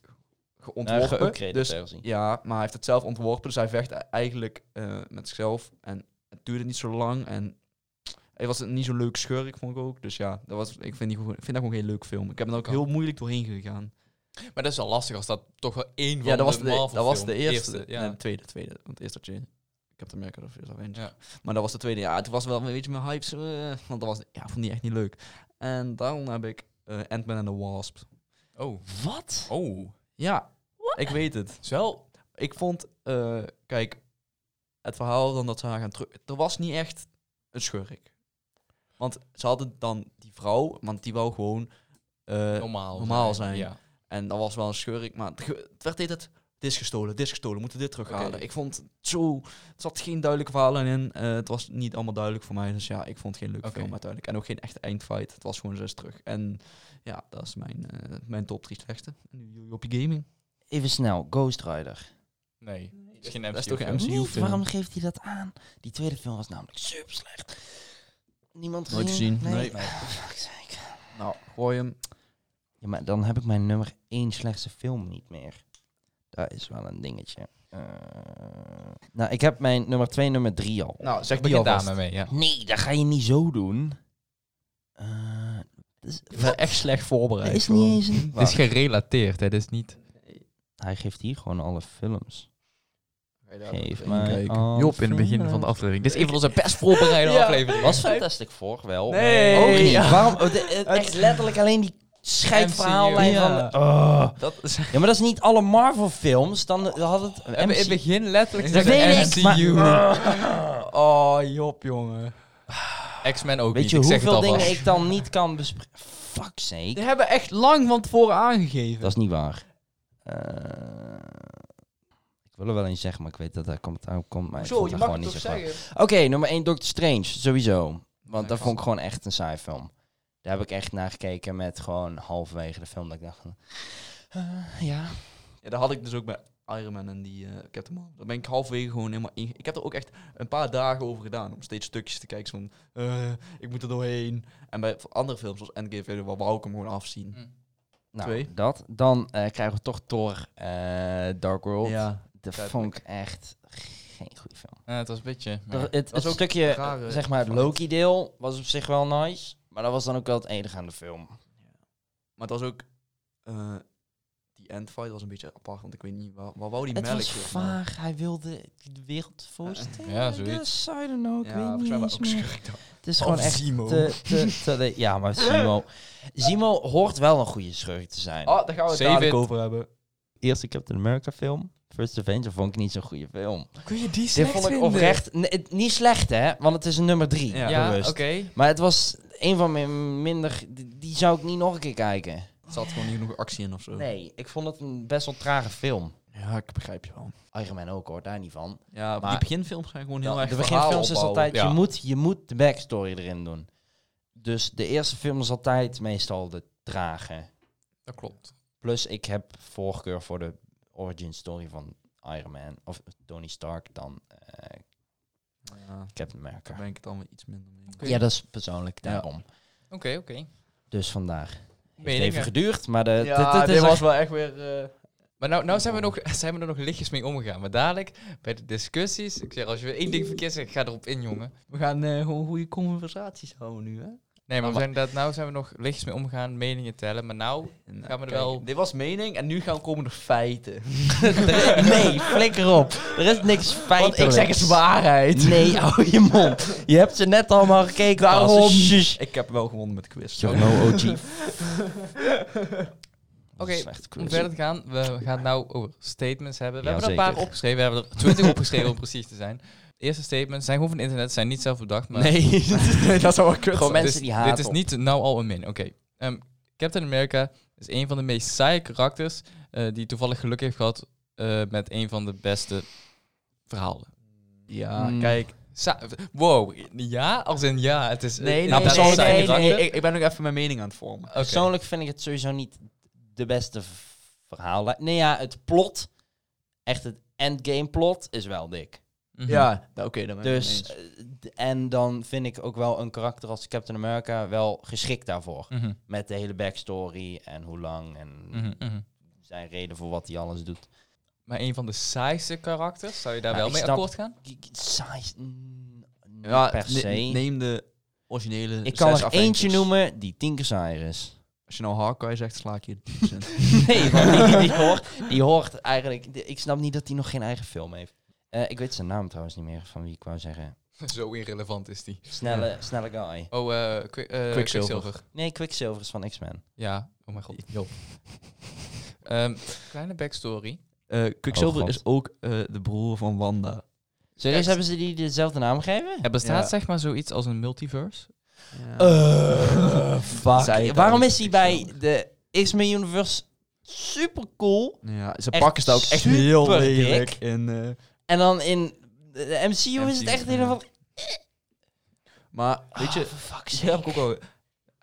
Speaker 2: Nou,
Speaker 3: geontworpen.
Speaker 2: geüpgraded
Speaker 3: dus,
Speaker 2: versie.
Speaker 3: ja, maar hij heeft het zelf ontworpen, dus hij vecht e- eigenlijk eh, met zichzelf. En het duurde niet zo lang en... Hij was niet zo'n leuk schurk, vond ik ook. Dus ja, dat was, ik, vind die, gewoon- ik vind dat gewoon geen leuk film. Ik heb er ook
Speaker 1: Kan.
Speaker 3: heel moeilijk doorheen gegaan.
Speaker 1: Maar dat is wel lastig als dat toch wel één van
Speaker 3: Ja, dat
Speaker 1: de
Speaker 3: was de,
Speaker 1: Marvel
Speaker 3: dat was de
Speaker 1: film-
Speaker 3: eerste.
Speaker 1: ja.
Speaker 3: Nee, de tweede, tweede. Want eerst had je Captain America of First Avenger.
Speaker 1: Ja.
Speaker 3: Maar dat was de tweede. Ja, het was wel een beetje mijn hype. zo, eh, want dat was, ja, ik vond die echt niet leuk. En daarom heb ik eh Ant-Man and the Wasp.
Speaker 1: Oh.
Speaker 2: Wat?
Speaker 1: Oh.
Speaker 3: Ja, ik weet het.
Speaker 1: Is wel...
Speaker 3: Ik vond, eh, kijk, het verhaal dan dat ze haar gaan terug... Er was niet echt een schurk. Want ze hadden dan die vrouw, want die wou gewoon... eh,
Speaker 1: normaal.
Speaker 3: normaal zijn.
Speaker 1: Ja.
Speaker 3: En dat was wel een schurk, maar het, ge- het werd dit het. Dit is gestolen, dit is gestolen, we moeten dit terughalen.
Speaker 1: Oké.
Speaker 3: Ik vond het zo. Er zat geen duidelijke verhalen in. eh, het was niet allemaal duidelijk voor mij. Dus ja, ik vond het geen leuke
Speaker 1: Oké.
Speaker 3: film uiteindelijk. En ook geen echte eindfight. Het was gewoon zes terug. En ja, dat is mijn, eh, mijn top drie slechtste. En nu jullie op je gaming.
Speaker 2: Even snel, Ghost Rider.
Speaker 1: Nee. Het is geen
Speaker 3: dat is
Speaker 1: MCU
Speaker 3: toch
Speaker 1: film.
Speaker 3: een MCU
Speaker 2: Niet,
Speaker 3: film.
Speaker 2: waarom geeft hij dat aan? Die tweede film was namelijk super slecht. Niemand
Speaker 3: Nooit
Speaker 2: gezien?
Speaker 3: gezien, nee.
Speaker 2: Fuck sake.
Speaker 3: Nou, gooi hem.
Speaker 2: Ja, maar dan heb ik mijn nummer één slechtste film niet meer. Dat is wel een dingetje. Eh, nou, ik heb mijn nummer twee, nummer drie al.
Speaker 3: Nou, zeg die
Speaker 1: Begin daar
Speaker 3: alvast.
Speaker 1: maar mee, ja.
Speaker 2: Nee, dat ga je niet zo doen. Eh, dat is,
Speaker 3: Ik ben echt slecht voorbereid.
Speaker 2: dat is
Speaker 3: gewoon.
Speaker 2: niet eens een...
Speaker 1: Het is gerelateerd, hè. Dit is niet...
Speaker 2: Hij geeft hier gewoon alle films.
Speaker 3: Ga je daar
Speaker 2: Geef
Speaker 3: even
Speaker 2: mij
Speaker 3: kijken.
Speaker 2: al
Speaker 1: Job in het begin van de
Speaker 2: films.
Speaker 1: aflevering. Dit is een van onze best voorbereide
Speaker 3: Ja.
Speaker 1: afleveringen.
Speaker 2: Was Fantastic Four wel.
Speaker 3: Nee.
Speaker 2: Ook niet.
Speaker 3: Ja.
Speaker 2: Waarom? oh, de- eh, echt letterlijk alleen die scheidverhaallijn
Speaker 1: MCU.
Speaker 2: van...
Speaker 1: Ja.
Speaker 2: Oh.
Speaker 3: Dat is
Speaker 2: Ja, maar dat is niet alle Marvel films. Dan eh, had het...
Speaker 1: We hebben in het begin letterlijk
Speaker 2: Dat weet ik, maar-
Speaker 1: MCU.
Speaker 3: Oh, Job, jongen.
Speaker 1: X-Men ook
Speaker 2: Weet
Speaker 1: niet,
Speaker 2: je
Speaker 1: ik zeg het
Speaker 2: hoeveel dingen
Speaker 1: alvast.
Speaker 2: ik dan niet kan bespreken? Fuck sake.
Speaker 3: Die hebben echt lang van tevoren aangegeven.
Speaker 2: Dat is niet waar. Eh, ik wil er wel eens zeggen, maar ik weet dat daar commentaar op komt. Maar ik vond dat gewoon niet zo grappig. Oké, nummer 1, Doctor Strange. Sowieso. Want dat vond ik gewoon echt een saai film. Daar heb ik echt naar gekeken met gewoon halverwege de film. Dat ik dacht van... eh, ja.
Speaker 3: Ja, dat had ik dus ook bij Iron Man en die eh Captain Marvel. Daar ben ik halverwege gewoon helemaal in. Ik heb er ook echt een paar dagen over gedaan om steeds stukjes te kijken. Zo'n, eh, ik moet er doorheen. En bij andere films zoals Endgame, weet je wel, wou ik hem gewoon afzien.
Speaker 1: Mm.
Speaker 2: Nou,
Speaker 3: Twee.
Speaker 2: dat. Dan eh, krijgen we toch Thor eh, Dark World.
Speaker 3: Ja.
Speaker 2: Dat
Speaker 3: duidelijk.
Speaker 2: vond ik echt geen goede film.
Speaker 1: Ja, het was een beetje...
Speaker 2: Er- het
Speaker 3: was
Speaker 2: het
Speaker 3: ook
Speaker 2: stukje,
Speaker 3: rare
Speaker 2: zeg maar, het
Speaker 3: fight.
Speaker 2: Loki-deel was op zich wel nice. Maar dat was dan ook wel het enige aan de film.
Speaker 3: Maar het was ook... eh, die endfight was een beetje apart, want ik weet niet, waar, waar wou die
Speaker 2: Het
Speaker 3: melk
Speaker 2: was
Speaker 3: weer van?
Speaker 2: vaag. Hij wilde de wereld voorstellen.
Speaker 1: Ja, zoiets.
Speaker 2: I don't know. Ik
Speaker 3: Ja,
Speaker 2: weet niet
Speaker 3: volgens mij
Speaker 2: eens
Speaker 3: was ook
Speaker 2: meer.
Speaker 3: schrik dan.
Speaker 2: Het is gewoon
Speaker 3: Of
Speaker 2: echt eh,
Speaker 3: Zemo.
Speaker 2: te, te, te- de- Ja, maar Zimo... Zimo hoort wel een goede schurk te zijn.
Speaker 3: Oh, daar gaan we het
Speaker 1: Save
Speaker 3: dadelijk
Speaker 1: it.
Speaker 3: over hebben.
Speaker 2: Eerste Captain America film. First Avenger vond ik niet zo'n goede film.
Speaker 1: Kun je die
Speaker 2: Dit vond ik oprecht... nee, het- niet slecht, hè? Want het is een nummer drie.
Speaker 3: Ja.
Speaker 1: Ja,
Speaker 2: bewust.
Speaker 1: oké.
Speaker 2: Maar het was een van mijn minder... Die die zou ik niet nog een keer kijken.
Speaker 3: Er zat gewoon niet genoeg actie in of zo.
Speaker 2: Nee, ik vond het een best wel trage film.
Speaker 3: Ja, ik begrijp je wel.
Speaker 2: Iron Man ook hoor, daar niet van.
Speaker 3: Ja,
Speaker 2: Maar-
Speaker 3: die beginfilms zijn gewoon heel
Speaker 2: Ja,
Speaker 3: erg
Speaker 2: de
Speaker 3: verhaal
Speaker 2: beginfilms is
Speaker 3: opbouwen.
Speaker 2: altijd,
Speaker 1: Ja.
Speaker 2: je, moet, je moet de backstory erin doen. Dus de eerste film is altijd meestal de trage.
Speaker 1: Dat klopt.
Speaker 2: Plus ik heb voorkeur voor de origin story van Iron Man of Tony Stark dan eh
Speaker 3: Ja,
Speaker 2: Captain
Speaker 3: daar
Speaker 2: America.
Speaker 3: ben ik het dan weer iets minder mee.
Speaker 1: Oké.
Speaker 2: Ja, dat is persoonlijk
Speaker 3: Ja.
Speaker 2: daarom.
Speaker 1: Oké, oké.
Speaker 2: Dus vandaar. Heeft
Speaker 1: Meningen.
Speaker 2: even geduurd, maar de,
Speaker 3: Ja,
Speaker 2: dit,
Speaker 3: dit
Speaker 2: is
Speaker 3: was
Speaker 2: echt-
Speaker 3: wel echt weer... eh,
Speaker 1: Maar nou, nou zijn, we nog, zijn we er nog lichtjes mee omgegaan. Maar dadelijk, bij de discussies... Ik zeg, als je weer één ding verkeerd zegt, ga erop in, jongen.
Speaker 3: we gaan eh, gewoon goede conversaties houden nu, hè?
Speaker 1: Nee, maar,
Speaker 2: Maar
Speaker 1: we zijn dat, nou zijn we nog lichtjes mee omgegaan, meningen tellen. Maar nou,
Speaker 3: Nou,
Speaker 1: Gaan we er
Speaker 3: kijk,
Speaker 1: wel-
Speaker 3: Dit was mening en nu gaan komen er feiten.
Speaker 2: Er is- nee, flikker op. Er is niks feitelijks.
Speaker 3: Want ik zeg het waarheid.
Speaker 2: Nee, hou je mond. Je hebt ze net allemaal gekeken. Bas.
Speaker 3: Daarom.
Speaker 2: Shush.
Speaker 3: Ik heb wel gewonnen met de quiz.
Speaker 2: You're no OG.
Speaker 1: Oké,
Speaker 2: Slechte quiz.
Speaker 1: om verder te gaan, we gaan nou over statements hebben. We hebben er een
Speaker 2: Jazeker.
Speaker 1: paar opgeschreven. We hebben er twintig opgeschreven, om precies te zijn. De eerste statements zijn gewoon van het internet, zijn niet zelf bedacht. Maar
Speaker 2: Nee,
Speaker 3: dat zou wel kut
Speaker 2: Gewoon
Speaker 1: Dit
Speaker 2: mensen
Speaker 1: is-
Speaker 2: die haten.
Speaker 1: Dit is niet nou al een min. Oké. Ehm, Captain America is een van de meest saaie karakters eh, die toevallig geluk heeft gehad eh, met een van de beste verhalen.
Speaker 3: Ja,
Speaker 2: Mm.
Speaker 3: kijk.
Speaker 1: Sa- wow, ja, als in ja, het is.
Speaker 3: Nee,
Speaker 2: nee,
Speaker 1: nou,
Speaker 2: nee,
Speaker 1: persoonlijk
Speaker 2: nee,
Speaker 1: saai
Speaker 2: nee,
Speaker 1: karakter.
Speaker 3: ik, ik ben ook even mijn mening aan het vormen.
Speaker 1: Oké.
Speaker 2: Persoonlijk vind ik het sowieso niet de beste v- verhaal. Nee, ja, het plot, echt het endgame plot, is wel dik.
Speaker 1: Mhm.
Speaker 3: Ja, nou, oké, dan ben ik het
Speaker 2: Dus,
Speaker 3: mee eens.
Speaker 2: eh, d- en dan vind ik ook wel een karakter als Captain America wel geschikt daarvoor.
Speaker 1: Mhm,
Speaker 2: Met de hele backstory en hoe lang en
Speaker 1: mhm, mhm.
Speaker 2: zijn reden voor wat hij alles doet.
Speaker 1: Maar een van de saaiste karakters, zou je daar
Speaker 2: Maar
Speaker 1: wel
Speaker 2: ik
Speaker 1: mee
Speaker 2: snap-
Speaker 1: akkoord gaan?
Speaker 2: K- k- Saai. is, mm, niet
Speaker 3: ja,
Speaker 2: per
Speaker 3: ne-
Speaker 2: se.
Speaker 3: neem de originele
Speaker 2: ik kan er
Speaker 3: zes
Speaker 2: eentje
Speaker 3: afleveringen.
Speaker 2: noemen die tien keer saaier is.
Speaker 3: Als je nou Hawkeye zegt, sla ik je de tyfus in.
Speaker 2: Nee, want die, die, hoort, die hoort eigenlijk... de- Ik snap niet dat hij nog geen eigen film heeft. Eh, ik weet zijn naam trouwens niet meer, van wie ik wou zeggen.
Speaker 1: Zo irrelevant is die.
Speaker 2: Snelle, snelle guy.
Speaker 1: Oh, eh Qui- eh, Quicksilver.
Speaker 2: Nee, Quicksilver is van X-Men.
Speaker 1: Ja, oh mijn god. Joh. Ehm, kleine backstory.
Speaker 3: Eh Quicksilver
Speaker 2: Oh, God.
Speaker 3: is ook eh, de broer van Wanda.
Speaker 2: Serieus,
Speaker 1: Echt?
Speaker 2: hebben ze die dezelfde naam gegeven?
Speaker 1: Er bestaat
Speaker 3: Ja.
Speaker 1: zeg maar zoiets als een multiverse.
Speaker 3: Ja. Eh,
Speaker 2: fuck.
Speaker 3: Zij het
Speaker 2: Ah, Waarom
Speaker 3: al,
Speaker 2: is hij bij de X-Men Universe super cool
Speaker 3: Ja, ze
Speaker 2: Echt
Speaker 3: pakken ze daar ook echt heel
Speaker 2: super
Speaker 3: lelijk
Speaker 2: dik.
Speaker 3: in. eh,
Speaker 2: en dan in de MCU, is het
Speaker 1: MCU,
Speaker 2: echt helemaal... van-
Speaker 3: maar weet je,
Speaker 2: Ah, for fuck's
Speaker 3: je hebt
Speaker 2: sake.
Speaker 3: ook al...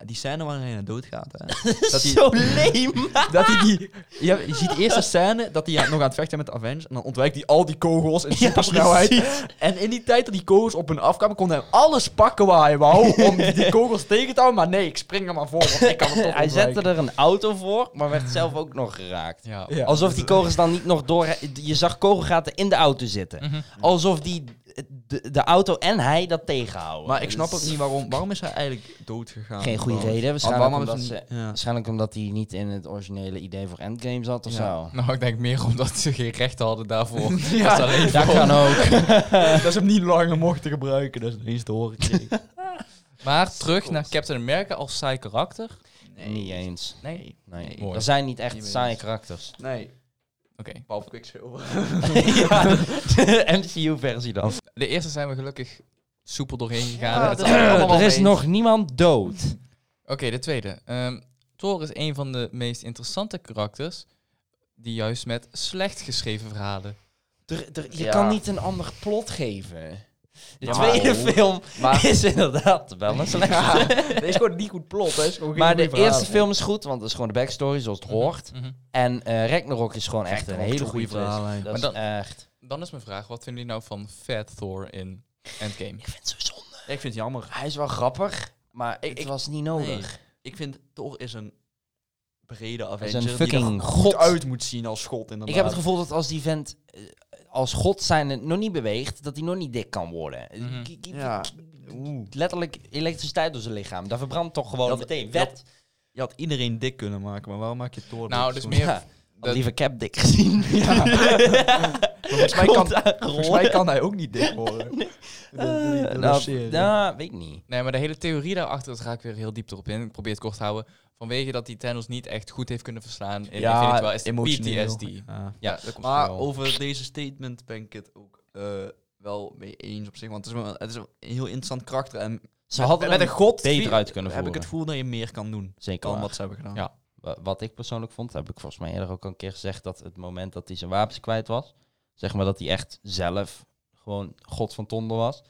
Speaker 3: Die scène waarin hij doodgaat, hè.
Speaker 2: Dat
Speaker 3: dat
Speaker 2: is
Speaker 3: die-
Speaker 2: zo leem.
Speaker 3: Dat hij die, je, hebt- je ziet de eerste scène dat hij nog aan het vechten met de Avengers. En dan ontwijkt hij al die kogels in
Speaker 2: nou,
Speaker 3: supersnelheid. en in die tijd dat die kogels op hun afkwamen, kon hij alles pakken waar hij wou. om die kogels tegen te houden. Maar nee, ik spring er maar voor, want ik kan het toch
Speaker 2: Hij zette
Speaker 3: ontwijken.
Speaker 2: er een auto voor, maar werd zelf ook nog geraakt.
Speaker 1: Ja.
Speaker 3: Ja.
Speaker 2: Alsof die kogels dan niet nog door... Je zag kogelgaten in de auto zitten.
Speaker 1: Mhm.
Speaker 2: Alsof die, de, de auto en hij dat tegenhouden. Dus-
Speaker 3: Maar ik snap
Speaker 2: Dat
Speaker 3: ook
Speaker 2: is
Speaker 3: niet waarom. Waarom is hij eigenlijk dood gegaan?
Speaker 2: Geen goede
Speaker 3: Waarom-
Speaker 2: reden. Waarschijnlijk
Speaker 3: waarom
Speaker 2: omdat,
Speaker 3: is
Speaker 2: ze,
Speaker 3: hij dus niet- ja.
Speaker 2: waarschijnlijk omdat hij niet in het originele idee voor Endgame zat of
Speaker 3: Ja.
Speaker 2: zo.
Speaker 1: Nou, ik denk meer omdat ze geen rechten hadden daarvoor.
Speaker 3: Ja.
Speaker 1: Dat is alleen
Speaker 2: Dat
Speaker 1: voor-
Speaker 2: kan ook.
Speaker 3: dat ze hem niet langer mochten gebruiken. Dat is ineens te horen. kreeg.
Speaker 1: Maar terug naar Captain America als saai karakter.
Speaker 2: Niet eens.
Speaker 1: Nee.
Speaker 2: Nee.
Speaker 3: Nee.
Speaker 1: Mooi.
Speaker 2: Er zijn niet echt
Speaker 3: Niet mee
Speaker 2: saaie
Speaker 3: eens.
Speaker 2: karakters.
Speaker 3: Nee,
Speaker 1: Oké.
Speaker 3: behalve Quicksilver.
Speaker 2: ja, de MCU-versie dan.
Speaker 1: De eerste zijn we gelukkig soepel doorheen gegaan.
Speaker 3: Ja,
Speaker 1: Het-
Speaker 3: dat is allemaal wel
Speaker 2: er is
Speaker 3: mee
Speaker 2: nog niemand dood.
Speaker 1: Oké, de tweede. Ehm Thor is een van de meest interessante karakters die juist met slecht geschreven verhalen.
Speaker 2: Er, er- je
Speaker 3: Ja.
Speaker 2: kan niet een ander plot geven. De
Speaker 3: Ja, maar-
Speaker 2: tweede film
Speaker 3: Maar
Speaker 2: is inderdaad wel een slechte.
Speaker 3: dit is gewoon niet Mm-hmm. goed plot. Hè. Is gewoon geen
Speaker 2: maar de
Speaker 3: goede verhaal.
Speaker 2: eerste film is goed, want dat is gewoon de backstory zoals het hoort.
Speaker 1: Mhm.
Speaker 2: En eh Ragnarok is gewoon echt een hele goede verhaal.
Speaker 3: verhaallijn.
Speaker 2: Dat is
Speaker 1: Maar
Speaker 2: echt...
Speaker 1: Dan is mijn vraag, wat vinden jullie nou van Fat Thor in Endgame?
Speaker 2: Ik vind het zo zonde.
Speaker 3: Ik vind het jammer.
Speaker 2: Hij is wel grappig, maar
Speaker 3: Ik-
Speaker 2: het
Speaker 3: ik-
Speaker 2: was niet nodig.
Speaker 3: Ik vind Thor is een brede
Speaker 2: is
Speaker 3: Avenger.
Speaker 2: een
Speaker 3: die er
Speaker 2: fucking
Speaker 3: goed
Speaker 2: god.
Speaker 3: uit moet zien als god inderdaad.
Speaker 2: Ik heb het gevoel dat als die vent eh, als god zijnde nog niet beweegt, dat hij nog niet dik kan worden. Eh,
Speaker 1: Mhm.
Speaker 2: k- k-
Speaker 3: Ja.
Speaker 2: k-
Speaker 3: Oeh.
Speaker 2: Letterlijk elektriciteit door zijn lichaam. Daar verbrandt toch gewoon
Speaker 3: Dat-
Speaker 2: meteen.
Speaker 3: dat-
Speaker 2: Wet.
Speaker 3: Je had iedereen dik kunnen maken, maar waarom maak je Thor
Speaker 1: Nou,
Speaker 3: dik?
Speaker 1: dus
Speaker 3: Zo-
Speaker 1: meer-
Speaker 2: ja.
Speaker 1: dat-
Speaker 2: Liever cap dik gezien.
Speaker 3: Volgens mij, kan,
Speaker 2: Komt daar
Speaker 3: volgens
Speaker 2: rollen.
Speaker 3: mij kan hij ook niet dik worden. Dat- dat-
Speaker 2: Eh,
Speaker 3: dat- dat is
Speaker 2: nou,
Speaker 3: serieus.
Speaker 2: nou, weet ik niet.
Speaker 1: Nee, maar de hele theorie daarachter, daar ga ik weer heel diep erop in. Ik probeer het kort te houden. Vanwege dat die Thanos niet echt goed heeft kunnen verslaan in
Speaker 3: Ja,
Speaker 1: Infinity War, is de
Speaker 3: emotioneel.
Speaker 1: PTSD.
Speaker 3: Ja.
Speaker 1: Ja, dat komt
Speaker 3: Maar
Speaker 1: er wel.
Speaker 3: over deze statement ben ik het ook eh, wel mee eens op zich. Want het is, wel- het is een heel interessant karakter. En
Speaker 2: Ze
Speaker 3: met,
Speaker 2: hadden
Speaker 3: met een
Speaker 2: hem
Speaker 3: god
Speaker 2: beter
Speaker 3: vi-
Speaker 2: uit kunnen
Speaker 3: heb
Speaker 2: voeren.
Speaker 3: ik het gevoel dat je meer kan doen
Speaker 2: Zeker
Speaker 3: dan
Speaker 2: waar.
Speaker 3: wat ze hebben gedaan.
Speaker 1: Ja.
Speaker 2: Wa- Wat ik persoonlijk vond, heb ik volgens mij eerder ook al een keer gezegd, dat het moment dat hij zijn wapens kwijt was, zeg maar dat hij echt zelf gewoon god van Tonder was,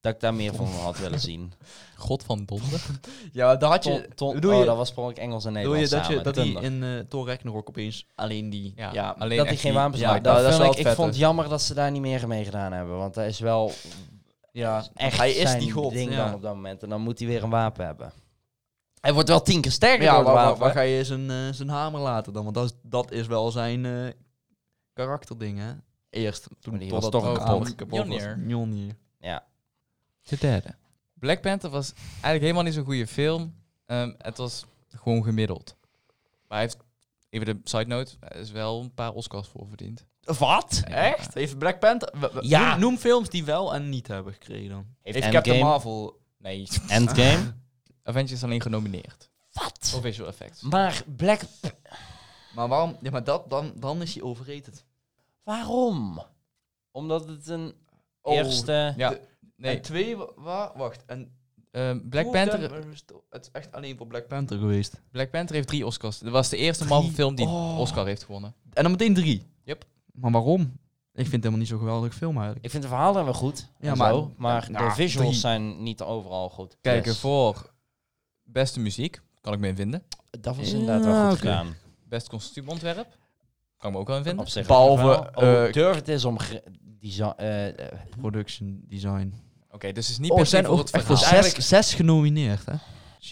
Speaker 2: dat ik daar meer van had willen zien.
Speaker 1: God van donder.
Speaker 3: Ja, daar had
Speaker 2: Ton,
Speaker 3: je...
Speaker 2: ton,
Speaker 3: bedoel
Speaker 2: oh,
Speaker 3: je-
Speaker 2: dat was per ongeluk Engels en
Speaker 3: Wil je
Speaker 2: Nederlands
Speaker 3: dat, je,
Speaker 2: samen.
Speaker 3: dat die
Speaker 2: Thunder.
Speaker 3: in eh Thor Ragnarok opeens alleen die...
Speaker 1: Ja,
Speaker 3: Ja,
Speaker 1: alleen
Speaker 2: dat die
Speaker 1: echt
Speaker 2: geen
Speaker 1: die-
Speaker 2: wapens
Speaker 3: ja,
Speaker 2: maakt.
Speaker 3: dat-
Speaker 2: Dat,
Speaker 3: dat is
Speaker 2: vind
Speaker 3: wel
Speaker 2: ik,
Speaker 3: het
Speaker 2: ik
Speaker 3: vette.
Speaker 2: vond het jammer dat ze daar niet meer mee gedaan hebben. Want hij is wel
Speaker 3: ja,
Speaker 2: echt
Speaker 3: hij is
Speaker 2: zijn
Speaker 3: die god.
Speaker 2: ding
Speaker 3: ja.
Speaker 2: dan op dat moment. En dan moet hij weer een wapen hebben. Hij wordt wel tien keer sterker door
Speaker 3: Ja,
Speaker 2: het
Speaker 3: waar, waar,
Speaker 2: wapen.
Speaker 3: waar ga je zijn, eh, zijn hamer laten dan? Want dat is, dat is wel zijn eh, karakterding, hè? Eerst, toen
Speaker 2: Maar die
Speaker 3: totdat
Speaker 2: was toch
Speaker 3: de
Speaker 1: kapot.
Speaker 3: hamer was.
Speaker 1: Mjolnir.
Speaker 3: Mjolnir.
Speaker 1: De derde. Black Panther was eigenlijk helemaal niet zo'n goede film. Ehm, het was gewoon gemiddeld. Maar hij heeft, even de side note, er is wel een paar Oscars voor verdiend.
Speaker 2: Wat?
Speaker 3: Echt? Heeft Black Panther... w- w-
Speaker 2: Ja.
Speaker 3: Noem, noem films die wel en niet hebben gekregen dan.
Speaker 2: Heeft
Speaker 3: Heeft Captain
Speaker 2: Endgame-
Speaker 3: Marvel... Nee.
Speaker 2: Endgame?
Speaker 1: Avengers is alleen genomineerd.
Speaker 2: Wat?
Speaker 1: Voor visual effects.
Speaker 2: Maar Black...
Speaker 3: Maar waarom? Ja, maar dat, dan, dan is hij overrated.
Speaker 2: Waarom? Omdat het een
Speaker 3: Oh,
Speaker 2: eerste...
Speaker 1: Ja,
Speaker 3: de-
Speaker 1: nee.
Speaker 3: En twee, wa- waar? Wacht. En
Speaker 1: ehm, Black,
Speaker 3: Two of
Speaker 1: Panther,
Speaker 3: them is to- Het is echt alleen voor Black Panther geweest.
Speaker 1: Black Panther heeft drie Oscars. Dat was de eerste
Speaker 3: Drie?
Speaker 1: Marvel film die
Speaker 3: Oh.
Speaker 1: Oscar heeft gewonnen.
Speaker 3: En dan meteen drie.
Speaker 1: Yep.
Speaker 3: Maar waarom? Ik vind het helemaal niet zo'n geweldig film eigenlijk.
Speaker 2: Ik vind de verhalen wel goed.
Speaker 3: Ja,
Speaker 2: en
Speaker 3: maar-
Speaker 2: zo, maar
Speaker 3: Nou,
Speaker 2: de visuals
Speaker 3: drie.
Speaker 2: zijn niet overal goed.
Speaker 1: Kijken
Speaker 2: Dus
Speaker 1: voor beste muziek, kan ik me in vinden.
Speaker 2: Dat was
Speaker 3: Ja,
Speaker 2: inderdaad wel goed
Speaker 3: oké.
Speaker 2: gedaan.
Speaker 1: Best kostuumontwerp, kan ik me ook wel in vinden.
Speaker 2: Op zich
Speaker 3: Behalve,
Speaker 2: wel. Oh,
Speaker 3: eh,
Speaker 2: durf het is om... gre- desi- eh, eh,
Speaker 3: Production design.
Speaker 1: Oké, dus het is niet
Speaker 3: Oh,
Speaker 1: per
Speaker 3: er
Speaker 1: se
Speaker 3: zijn
Speaker 1: voor
Speaker 3: ook
Speaker 1: het
Speaker 3: echt
Speaker 1: verhaal.
Speaker 3: wel
Speaker 2: Dus
Speaker 3: zes,
Speaker 2: eigenlijk-
Speaker 3: zes genomineerd, hè?
Speaker 1: Voor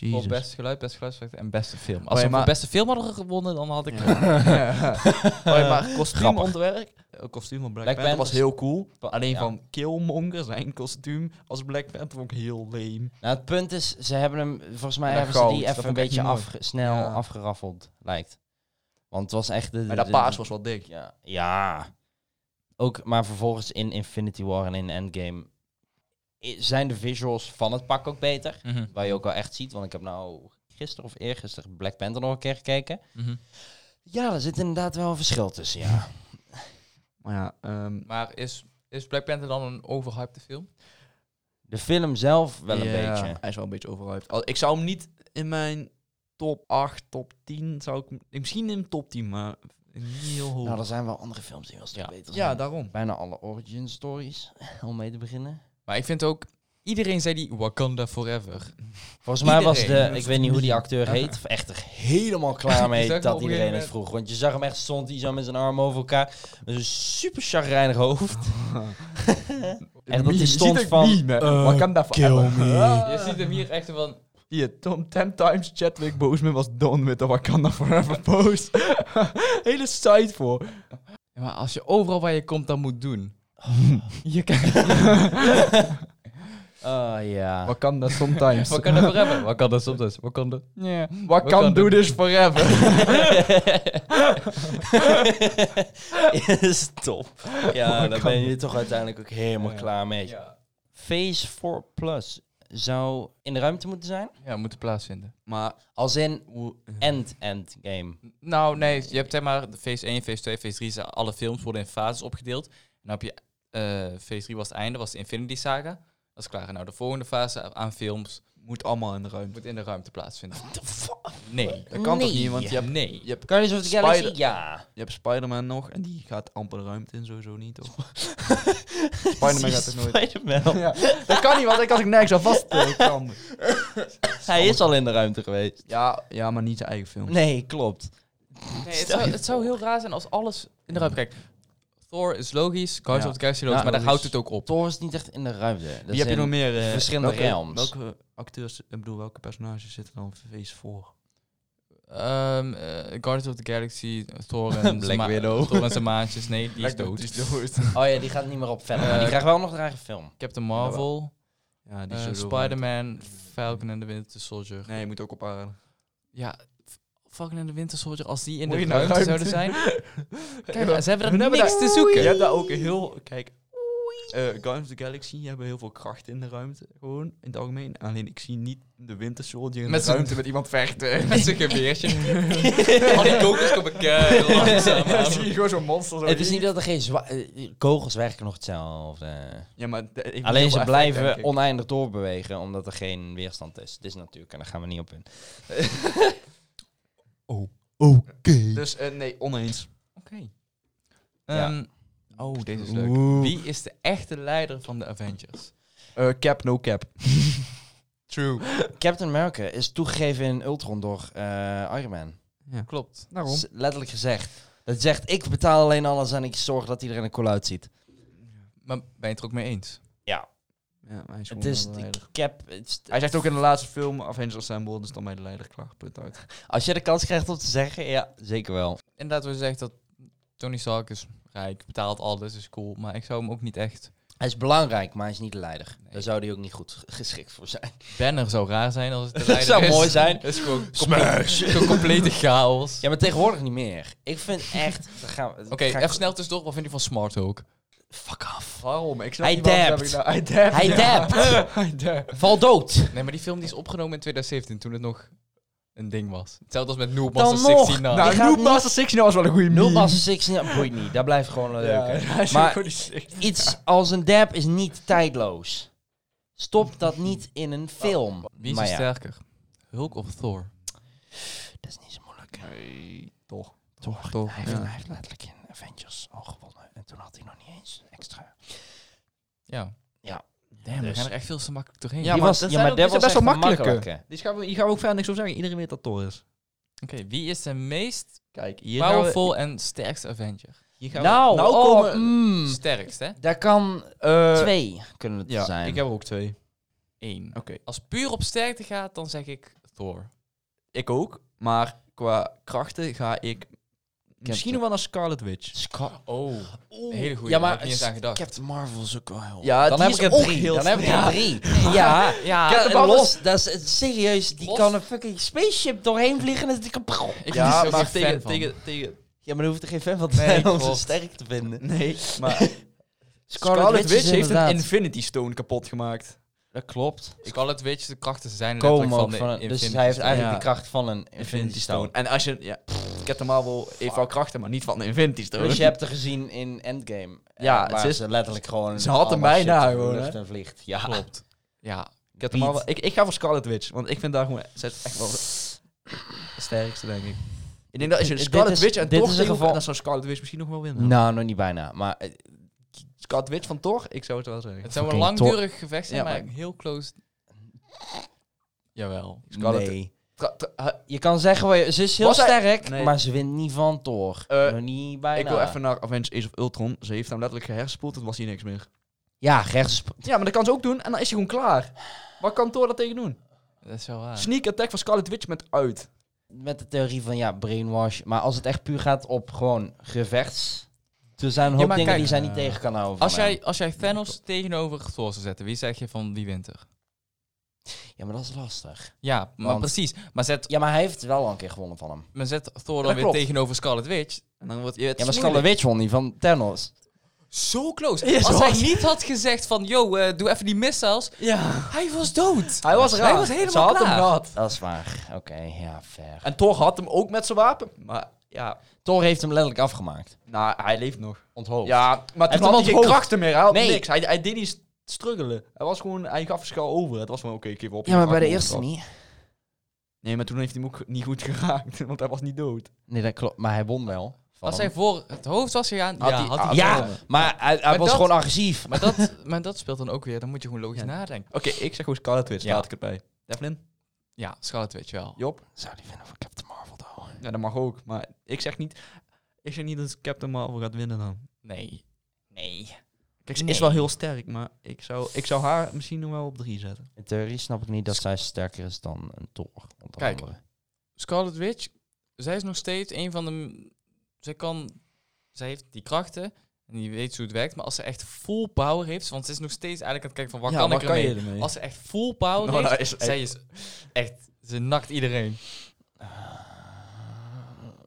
Speaker 3: Jezus.
Speaker 1: best geluid, best geluidseffecten en beste film.
Speaker 3: Oh
Speaker 1: Als
Speaker 3: ja,
Speaker 1: we voor
Speaker 3: maar-
Speaker 1: beste film hadden gewonnen, dan had ik...
Speaker 3: Ja. Oei, maar kostuumontwerp, het eh, kostuum van Black,
Speaker 2: Black
Speaker 3: Panther was
Speaker 2: Panther.
Speaker 3: heel cool. Alleen
Speaker 2: ja.
Speaker 3: van Killmonger, zijn kostuum als Black Panther vond ik heel lame.
Speaker 2: Nou, het punt is, ze hebben hem, volgens mij
Speaker 3: Ja,
Speaker 2: hebben
Speaker 3: goud.
Speaker 2: ze die
Speaker 3: Dat
Speaker 2: even een
Speaker 3: vond ik echt
Speaker 2: beetje
Speaker 3: niet mooi.
Speaker 2: afge- snel
Speaker 3: Ja.
Speaker 2: afgeraffeld, lijkt. Want het was echt... De,
Speaker 3: Maar dat
Speaker 2: de-
Speaker 3: paars was wel dik.
Speaker 2: Ja. ja. Ook, maar vervolgens in Infinity War en in Endgame i- zijn de visuals van het pak ook beter.
Speaker 1: Mhm,
Speaker 2: Waar je ook wel echt ziet, want ik heb nou gisteren of eergisteren Black Panther nog een keer gekeken.
Speaker 1: mhm.
Speaker 2: Ja, er zit inderdaad wel een verschil tussen, ja.
Speaker 3: Maar ja, ehm,
Speaker 1: Maar is, is Black Panther dan een overhypte film?
Speaker 2: De film zelf wel een
Speaker 3: ja,
Speaker 2: beetje.
Speaker 3: Hij is wel een beetje overhyped. Al- Ik zou hem niet in mijn top 8, top 10 zou ik... hem- Misschien in top 10, maar niet heel hoog.
Speaker 2: Nou, er zijn wel andere films die wel een stuk
Speaker 1: Ja.
Speaker 2: beter zijn.
Speaker 3: ja, daarom.
Speaker 2: Bijna alle origin stories, om mee te beginnen.
Speaker 1: Maar ik vind ook... Iedereen zei die Wakanda Forever.
Speaker 2: Volgens mij was
Speaker 1: Iedereen.
Speaker 2: de, ik weet niet hoe die acteur heet, echt er helemaal klaar
Speaker 1: Die zag
Speaker 2: mee
Speaker 1: me op
Speaker 2: dat
Speaker 1: een
Speaker 2: iedereen
Speaker 1: gegeven
Speaker 2: het vroeg. Want je zag hem echt stond, die zo met zijn armen over elkaar, met een super chagrijnig hoofd. En dat die stond van, eh,
Speaker 3: Wat kan dat
Speaker 2: kill me.
Speaker 1: Je ziet hem hier echt van...
Speaker 3: Hier, Tom, 10 times Chadwick Boseman was done with the Wakanda Forever pose. Hele site voor.
Speaker 1: Ja, maar als je overal waar je komt, dan moet doen.
Speaker 3: Je
Speaker 2: Oh ja.
Speaker 3: Wakanda sometimes.
Speaker 1: Wakanda Forever. Wakanda sometimes. Wakanda... dus Ja.
Speaker 3: Wakanda do this forever.
Speaker 2: is top. Ja, daar ben je toch uiteindelijk ook helemaal
Speaker 1: Ja.
Speaker 2: klaar mee.
Speaker 1: Ja.
Speaker 2: Phase 4 Plus zou in de ruimte moeten zijn,
Speaker 1: ja, moeten plaatsvinden.
Speaker 3: maar
Speaker 2: als in end-end game.
Speaker 1: Nou, nee. Je hebt zeg maar de phase 1, phase 2, phase 3. zijn Alle films worden in fases opgedeeld. En dan heb je... eh, phase 3 was het einde, was de Infinity Saga. Dat is klaar. En nou, de volgende fase aan films
Speaker 3: moet allemaal in de ruimte.
Speaker 1: moet in de ruimte plaatsvinden. Nee.
Speaker 3: Dat kan toch
Speaker 2: Nee.
Speaker 3: niet, want je hebt,
Speaker 1: nee.
Speaker 3: je hebt,
Speaker 2: Guardians of the
Speaker 3: Spider-
Speaker 2: Galaxy, ja.
Speaker 3: je hebt Spider-Man nog en die gaat amper de ruimte in, sowieso niet, toch? Spider-Man gaat er nooit.
Speaker 2: Spider-Man.
Speaker 3: Ja, dat kan niet, want ik had ik nergens aan vast. eh, kan.
Speaker 2: Hij is al in de ruimte geweest.
Speaker 3: Ja, ja, maar niet zijn eigen film.
Speaker 2: Nee, klopt.
Speaker 1: Nee, het, zou, het zou heel raar zijn als alles in de ruimte... Kijk, Thor is logisch, Guardians
Speaker 3: Ja.
Speaker 1: of the Galaxy logisch,
Speaker 2: Ja,
Speaker 1: maar daar houdt
Speaker 2: logisch.
Speaker 1: het ook op.
Speaker 2: Thor is niet echt in de ruimte. Dat
Speaker 3: Wie heb je nog meer? eh,
Speaker 2: verschillende
Speaker 3: welke,
Speaker 2: realms.
Speaker 3: Welke acteurs, ik bedoel, welke personages zitten dan feest voor?
Speaker 1: Ehm eh, Guardians of the Galaxy, Thor en,
Speaker 2: Black
Speaker 1: zijn ma-
Speaker 2: Widow.
Speaker 1: Thor en zijn maatjes, nee, die is dood.
Speaker 2: Oh ja, die gaat niet meer op verder. maar die
Speaker 1: Eh,
Speaker 2: krijgt wel nog een eigen film.
Speaker 1: Captain Marvel,
Speaker 3: Ja,
Speaker 1: eh,
Speaker 3: sowieso
Speaker 1: Spider-Man, Falcon en de Winter Soldier.
Speaker 3: ruimte. Nee, je moet ook op aarde.
Speaker 1: Ja, F- Falcon en de Winter Soldier, als die in
Speaker 3: Moet
Speaker 1: de
Speaker 3: je naar
Speaker 1: ruimte, zouden zijn... Kijk, ze hebben er
Speaker 3: Hun hebben
Speaker 1: niks te
Speaker 3: Je
Speaker 1: zoeken.
Speaker 3: hebt daar ook heel... Kijk, eh Guardians of the Galaxy hebben heel veel kracht in de ruimte. Gewoon, in het algemeen. Alleen ik zie niet de Winter Soldier in
Speaker 1: Met
Speaker 3: de
Speaker 1: zijn-
Speaker 3: ruimte met iemand vechten.
Speaker 1: Met zijn geweertje. Al die kokers op elkaar, langzaam
Speaker 3: Dan
Speaker 1: aan.
Speaker 3: zie je gewoon zo'n monster. Zo
Speaker 2: Het is niet dat er geen zwa- eh, die kogels werken nog hetzelfde.
Speaker 3: Ja, maar... de-
Speaker 2: Alleen
Speaker 3: ik bedoel, eh,
Speaker 2: ze
Speaker 3: echt, denk
Speaker 2: blijven
Speaker 3: ik.
Speaker 2: oneindig doorbewegen omdat er geen weerstand is. Dit is natuurlijk en daar gaan we niet op in.
Speaker 3: Dus eh, nee, oneens.
Speaker 1: Oké.
Speaker 2: Ja.
Speaker 1: Ehm, Oh, deze is leuk. Wie is de echte leider van de Avengers?
Speaker 3: Eh, cap, no cap.
Speaker 1: True.
Speaker 2: Captain America is toegegeven in Ultron door eh, Iron Man.
Speaker 1: Klopt.
Speaker 3: Daarom.
Speaker 2: S- Letterlijk gezegd. Dat zegt, ik betaal alleen alles en ik zorg dat iedereen er cool uitziet.
Speaker 1: Maar ben je het er ook mee eens?
Speaker 3: Ja, hij, is
Speaker 2: Het
Speaker 3: gewoon
Speaker 2: is,
Speaker 3: medelijder.
Speaker 2: cap, het is-
Speaker 3: hij zegt ook in de laatste film, Avengers Assemble, dus dan bij de leider klaar, punt uit.
Speaker 2: als je de kans krijgt om te zeggen, ja, zeker wel.
Speaker 1: Inderdaad, we zeggen dat Tony Stark is rijk, betaalt alles, is cool. Maar ik zou hem ook niet echt...
Speaker 2: Hij is belangrijk, maar hij is niet de leider.
Speaker 1: Nee.
Speaker 2: Daar zou hij ook niet goed geschikt voor zijn.
Speaker 1: Banner zou raar zijn als het de
Speaker 2: Dat
Speaker 1: leider
Speaker 2: zou
Speaker 1: is.
Speaker 2: mooi zijn.
Speaker 1: Het is gewoon compleet, gewoon complete chaos.
Speaker 2: Ja, maar tegenwoordig niet meer. Ik vind echt... dan gaan we-
Speaker 1: Oké,
Speaker 2: ga ik-
Speaker 1: even snel tussendoor. Wat vind je van Smart Hulk?
Speaker 2: Fuck off.
Speaker 3: Waarom? Ik snap
Speaker 2: Hij
Speaker 3: niet waarom
Speaker 2: dapt.
Speaker 3: heb ik nou- Hij dapt.
Speaker 2: Hij
Speaker 3: ja.
Speaker 2: dapt.
Speaker 3: Hij dapt.
Speaker 2: Val dood.
Speaker 1: Nee, maar die film die is opgenomen in 2017, toen het nog een ding was. Hetzelfde als met Noob
Speaker 2: Dan
Speaker 1: Master
Speaker 2: nog.
Speaker 1: 16 na.
Speaker 2: Nou,
Speaker 3: Nou,
Speaker 2: gaat
Speaker 3: Noob
Speaker 2: niet-
Speaker 3: Master 16 was wel een goede meme.
Speaker 2: Nul was six, ja, boeit niet. Dat blijft gewoon leuk.
Speaker 3: Ja,
Speaker 2: hè.
Speaker 3: hij is
Speaker 2: Maar-
Speaker 3: gewoon die six.
Speaker 2: Iets als een dab is niet tijdloos. Stop dat niet in een film.
Speaker 1: Wie is
Speaker 2: Maar
Speaker 1: er
Speaker 2: ja,
Speaker 1: sterker? Hulk of Thor?
Speaker 2: dat is niet zo moeilijk.
Speaker 3: Nee, toch.
Speaker 2: Toch,
Speaker 3: toch,
Speaker 2: hij, heeft,
Speaker 3: ja.
Speaker 2: hij heeft letterlijk in Avengers al gewonnen. En toen had hij nog niet eens extra.
Speaker 1: Ja.
Speaker 2: Ja.
Speaker 1: Damn, we
Speaker 2: Dus-
Speaker 1: gaan er echt veel te makkelijk doorheen.
Speaker 3: Ja, maar dat zijn ook- die zijn best wel
Speaker 2: echt
Speaker 3: makkelijke.
Speaker 2: een makkelijke.
Speaker 3: Die gaan we, hier gaan we ook verder niks over zeggen. Iedereen weet dat Thor is.
Speaker 1: Oké, wie is de meest
Speaker 3: Kijk, hier
Speaker 1: powerful en sterkste Avenger?
Speaker 2: Nou,
Speaker 3: nou
Speaker 2: oh,
Speaker 3: komen-
Speaker 2: mm,
Speaker 1: Sterkst, hè?
Speaker 2: daar kan
Speaker 3: Eh,
Speaker 2: twee kunnen het
Speaker 3: ja,
Speaker 2: zijn.
Speaker 3: ik heb er ook twee.
Speaker 1: Eén.
Speaker 3: Oké.
Speaker 1: Als puur op sterkte gaat, dan zeg ik Thor.
Speaker 3: Ik ook, maar qua krachten ga ik misschien
Speaker 2: de-
Speaker 3: nog wel naar Scarlet Witch.
Speaker 2: Scar-
Speaker 1: Oh.
Speaker 2: Oeh.
Speaker 1: hele goeie,
Speaker 2: Ja,
Speaker 1: daar
Speaker 2: maar
Speaker 1: had ik niet eens aan gedacht.
Speaker 2: Captain Marvel is ook wel heel...
Speaker 3: Oh. Ja,
Speaker 2: dan
Speaker 3: die
Speaker 2: heb
Speaker 3: is
Speaker 2: ik er
Speaker 3: ook
Speaker 2: drie.
Speaker 3: heel
Speaker 2: Dan heb ik
Speaker 3: sterk.
Speaker 2: er drie. Ja,
Speaker 1: Ja,
Speaker 2: Ja,
Speaker 1: en
Speaker 2: en
Speaker 1: los-
Speaker 2: los, dat is eh, serieus. Die
Speaker 1: Los?
Speaker 2: kan een fucking spaceship doorheen vliegen en het kan.
Speaker 1: Ik ben
Speaker 3: ja,
Speaker 1: er
Speaker 3: maar
Speaker 1: geen fan
Speaker 3: tegen,
Speaker 1: van.
Speaker 3: tegen, tegen...
Speaker 2: Ja, maar daar hoeft er geen fan van te
Speaker 1: Nee,
Speaker 2: zijn om ze
Speaker 1: klopt.
Speaker 2: sterk te vinden.
Speaker 3: Nee, maar Scarlet, Witch, heeft een Infinity Stone kapot gemaakt.
Speaker 2: Dat klopt.
Speaker 1: Scarlet Witch, de krachten zijn
Speaker 2: Komen
Speaker 1: letterlijk
Speaker 2: ook
Speaker 1: van,
Speaker 2: van een,
Speaker 1: de
Speaker 2: dus
Speaker 1: Infinity
Speaker 2: hij heeft
Speaker 1: Stone.
Speaker 2: eigenlijk
Speaker 3: Ja.
Speaker 2: de kracht van een Infinity Stone.
Speaker 3: En als je... Ja, pff, Captain Marvel heeft wel krachten, maar niet van de Infinity Stone.
Speaker 2: Dus je hebt er gezien in Endgame. eh,
Speaker 3: Ja,
Speaker 2: waar
Speaker 3: het is-
Speaker 2: ze letterlijk gewoon...
Speaker 3: Ze had hem
Speaker 2: allemaal
Speaker 3: bijna
Speaker 2: shit in de
Speaker 3: gewoon,
Speaker 2: lucht
Speaker 3: hè?
Speaker 2: en vliegt. Ja.
Speaker 1: Klopt. Ja,
Speaker 3: Captain Marvel... Ik, ik ga voor Scarlet Witch, want ik vind daar gewoon... Ze is echt wel de sterkste, denk ik. Ik denk dat als je
Speaker 2: Dit is-
Speaker 3: Scarlet Witch en
Speaker 2: dit
Speaker 3: Thor
Speaker 2: is een
Speaker 3: tegen
Speaker 2: geval-
Speaker 3: dan zou Scarlet Witch misschien nog wel winnen.
Speaker 2: Nou, nog niet bijna. Maar eh,
Speaker 3: Scarlet Witch van Thor? Ik zou het wel zeggen.
Speaker 1: Het zou een
Speaker 2: Fucking
Speaker 1: langdurig gevecht zijn,
Speaker 3: Ja,
Speaker 1: maar
Speaker 3: maar-
Speaker 1: heel close. Jawel.
Speaker 3: Scarlet-
Speaker 2: nee.
Speaker 3: Tra- tra- ha-
Speaker 2: Je kan zeggen, wel je- ze is heel
Speaker 3: Was hij-
Speaker 2: sterk,
Speaker 3: Nee.
Speaker 2: maar ze wint niet van Thor.
Speaker 3: Eh,
Speaker 2: nog niet bijna.
Speaker 3: Ik wil even naar Avengers Age of Ultron. Ze heeft hem letterlijk geherspoeld, toen was hij niks meer.
Speaker 2: Ja, rechts...
Speaker 3: Ja, maar dat kan ze ook doen en dan is hij gewoon klaar. Wat kan Thor dat tegen doen?
Speaker 1: Dat is wel waar.
Speaker 3: Sneak attack van Scarlet Witch met uit.
Speaker 2: met de theorie van ja, brainwash. Maar als het echt puur gaat op gewoon gevechts. Er zijn een hoop
Speaker 1: maar
Speaker 2: dingen
Speaker 1: kijk,
Speaker 2: die zij niet
Speaker 3: eh,
Speaker 2: tegen kan houden.
Speaker 1: Als
Speaker 2: van
Speaker 1: jij,
Speaker 2: hem.
Speaker 1: als jij Thanos tegenover Thor zou zetten, wie zeg je van die winter?
Speaker 2: Ja, maar dat is lastig.
Speaker 1: Ja, maar
Speaker 2: Want-
Speaker 1: precies. Maar zet,
Speaker 2: Ja, maar hij heeft wel al een keer gewonnen van hem.
Speaker 1: maar zet Thor dan
Speaker 3: dat
Speaker 1: weer
Speaker 3: klopt.
Speaker 1: tegenover Scarlet Witch.
Speaker 3: En dan wordt je het
Speaker 2: Ja, maar
Speaker 3: is
Speaker 2: Scarlet
Speaker 3: moeilijk.
Speaker 2: Witch won die van Thanos.
Speaker 1: Zo close.
Speaker 3: Ja,
Speaker 1: Als
Speaker 3: zo
Speaker 1: hij
Speaker 3: was-
Speaker 1: niet had gezegd van, yo, eh, doe even die missiles.
Speaker 3: Ja.
Speaker 1: Hij was dood.
Speaker 3: Hij was raar.
Speaker 1: Hij was
Speaker 3: Ze
Speaker 1: helemaal
Speaker 3: had hem
Speaker 1: klaar.
Speaker 3: gehad.
Speaker 2: Dat is waar. Oké, ja, ver.
Speaker 3: En Thor had hem ook met zijn wapen. Maar ja,
Speaker 2: Thor heeft hem letterlijk afgemaakt.
Speaker 3: nou, hij leeft nog.
Speaker 2: Onthoofd.
Speaker 3: Ja, maar
Speaker 2: heeft
Speaker 3: toen had
Speaker 2: hem
Speaker 3: hij geen
Speaker 2: onthoofd.
Speaker 3: krachten meer. Hij had
Speaker 2: Nee.
Speaker 3: niks. Hij, hij deed niet st- struggelen. Hij was gewoon, hij gaf schaal over. Het was van, oké, ik geef op.
Speaker 2: Ja, maar
Speaker 3: Ik raak
Speaker 2: bij de
Speaker 3: hem
Speaker 2: eerste
Speaker 3: overal.
Speaker 2: niet.
Speaker 3: Nee, maar toen heeft hij hem ook niet goed geraakt. Want hij was niet dood.
Speaker 2: Nee, dat klopt. Maar hij won wel. van
Speaker 1: Als
Speaker 2: hem.
Speaker 1: hij voor het hoofd was gegaan,
Speaker 3: Had
Speaker 1: ja,
Speaker 3: hij-
Speaker 1: had hij
Speaker 2: ja,
Speaker 1: gewonnen.
Speaker 2: maar hij, hij
Speaker 1: Maar
Speaker 2: was
Speaker 1: dat-
Speaker 2: gewoon agressief.
Speaker 1: Maar dat, maar dat speelt dan ook weer. Dan moet je gewoon logisch
Speaker 3: Ja.
Speaker 1: nadenken.
Speaker 3: Oké, ik zeg gewoon Scarlet Witch.
Speaker 2: Ja.
Speaker 3: Laat ik het bij. Devlin?
Speaker 1: Ja, Scarlet Witch wel.
Speaker 3: Job?
Speaker 2: Zou die vinden van Captain Marvel dan?
Speaker 3: Ja, dat mag ook. Maar ik zeg niet, ik zeg niet dat Captain Marvel gaat winnen dan.
Speaker 1: Nee. Nee.
Speaker 3: Kijk, ze
Speaker 1: Nee.
Speaker 3: is wel heel sterk, maar ik zou, ik zou haar misschien nog wel op drie zetten.
Speaker 2: In theorie snap ik niet dat zij sterker is dan een Thor. onder
Speaker 1: Kijk,
Speaker 2: andere.
Speaker 1: Scarlet Witch, zij is nog steeds een van de. m- Zij kan. Zij heeft die krachten. En die weet hoe het werkt. Maar als ze echt full power heeft. Want ze is nog steeds eigenlijk aan het kijken van waar kan ik ermee.
Speaker 3: ermee?
Speaker 1: Als ze echt full power
Speaker 3: Nou,
Speaker 1: heeft.
Speaker 3: dat is echt-
Speaker 1: Zij is echt. Ze nakt iedereen.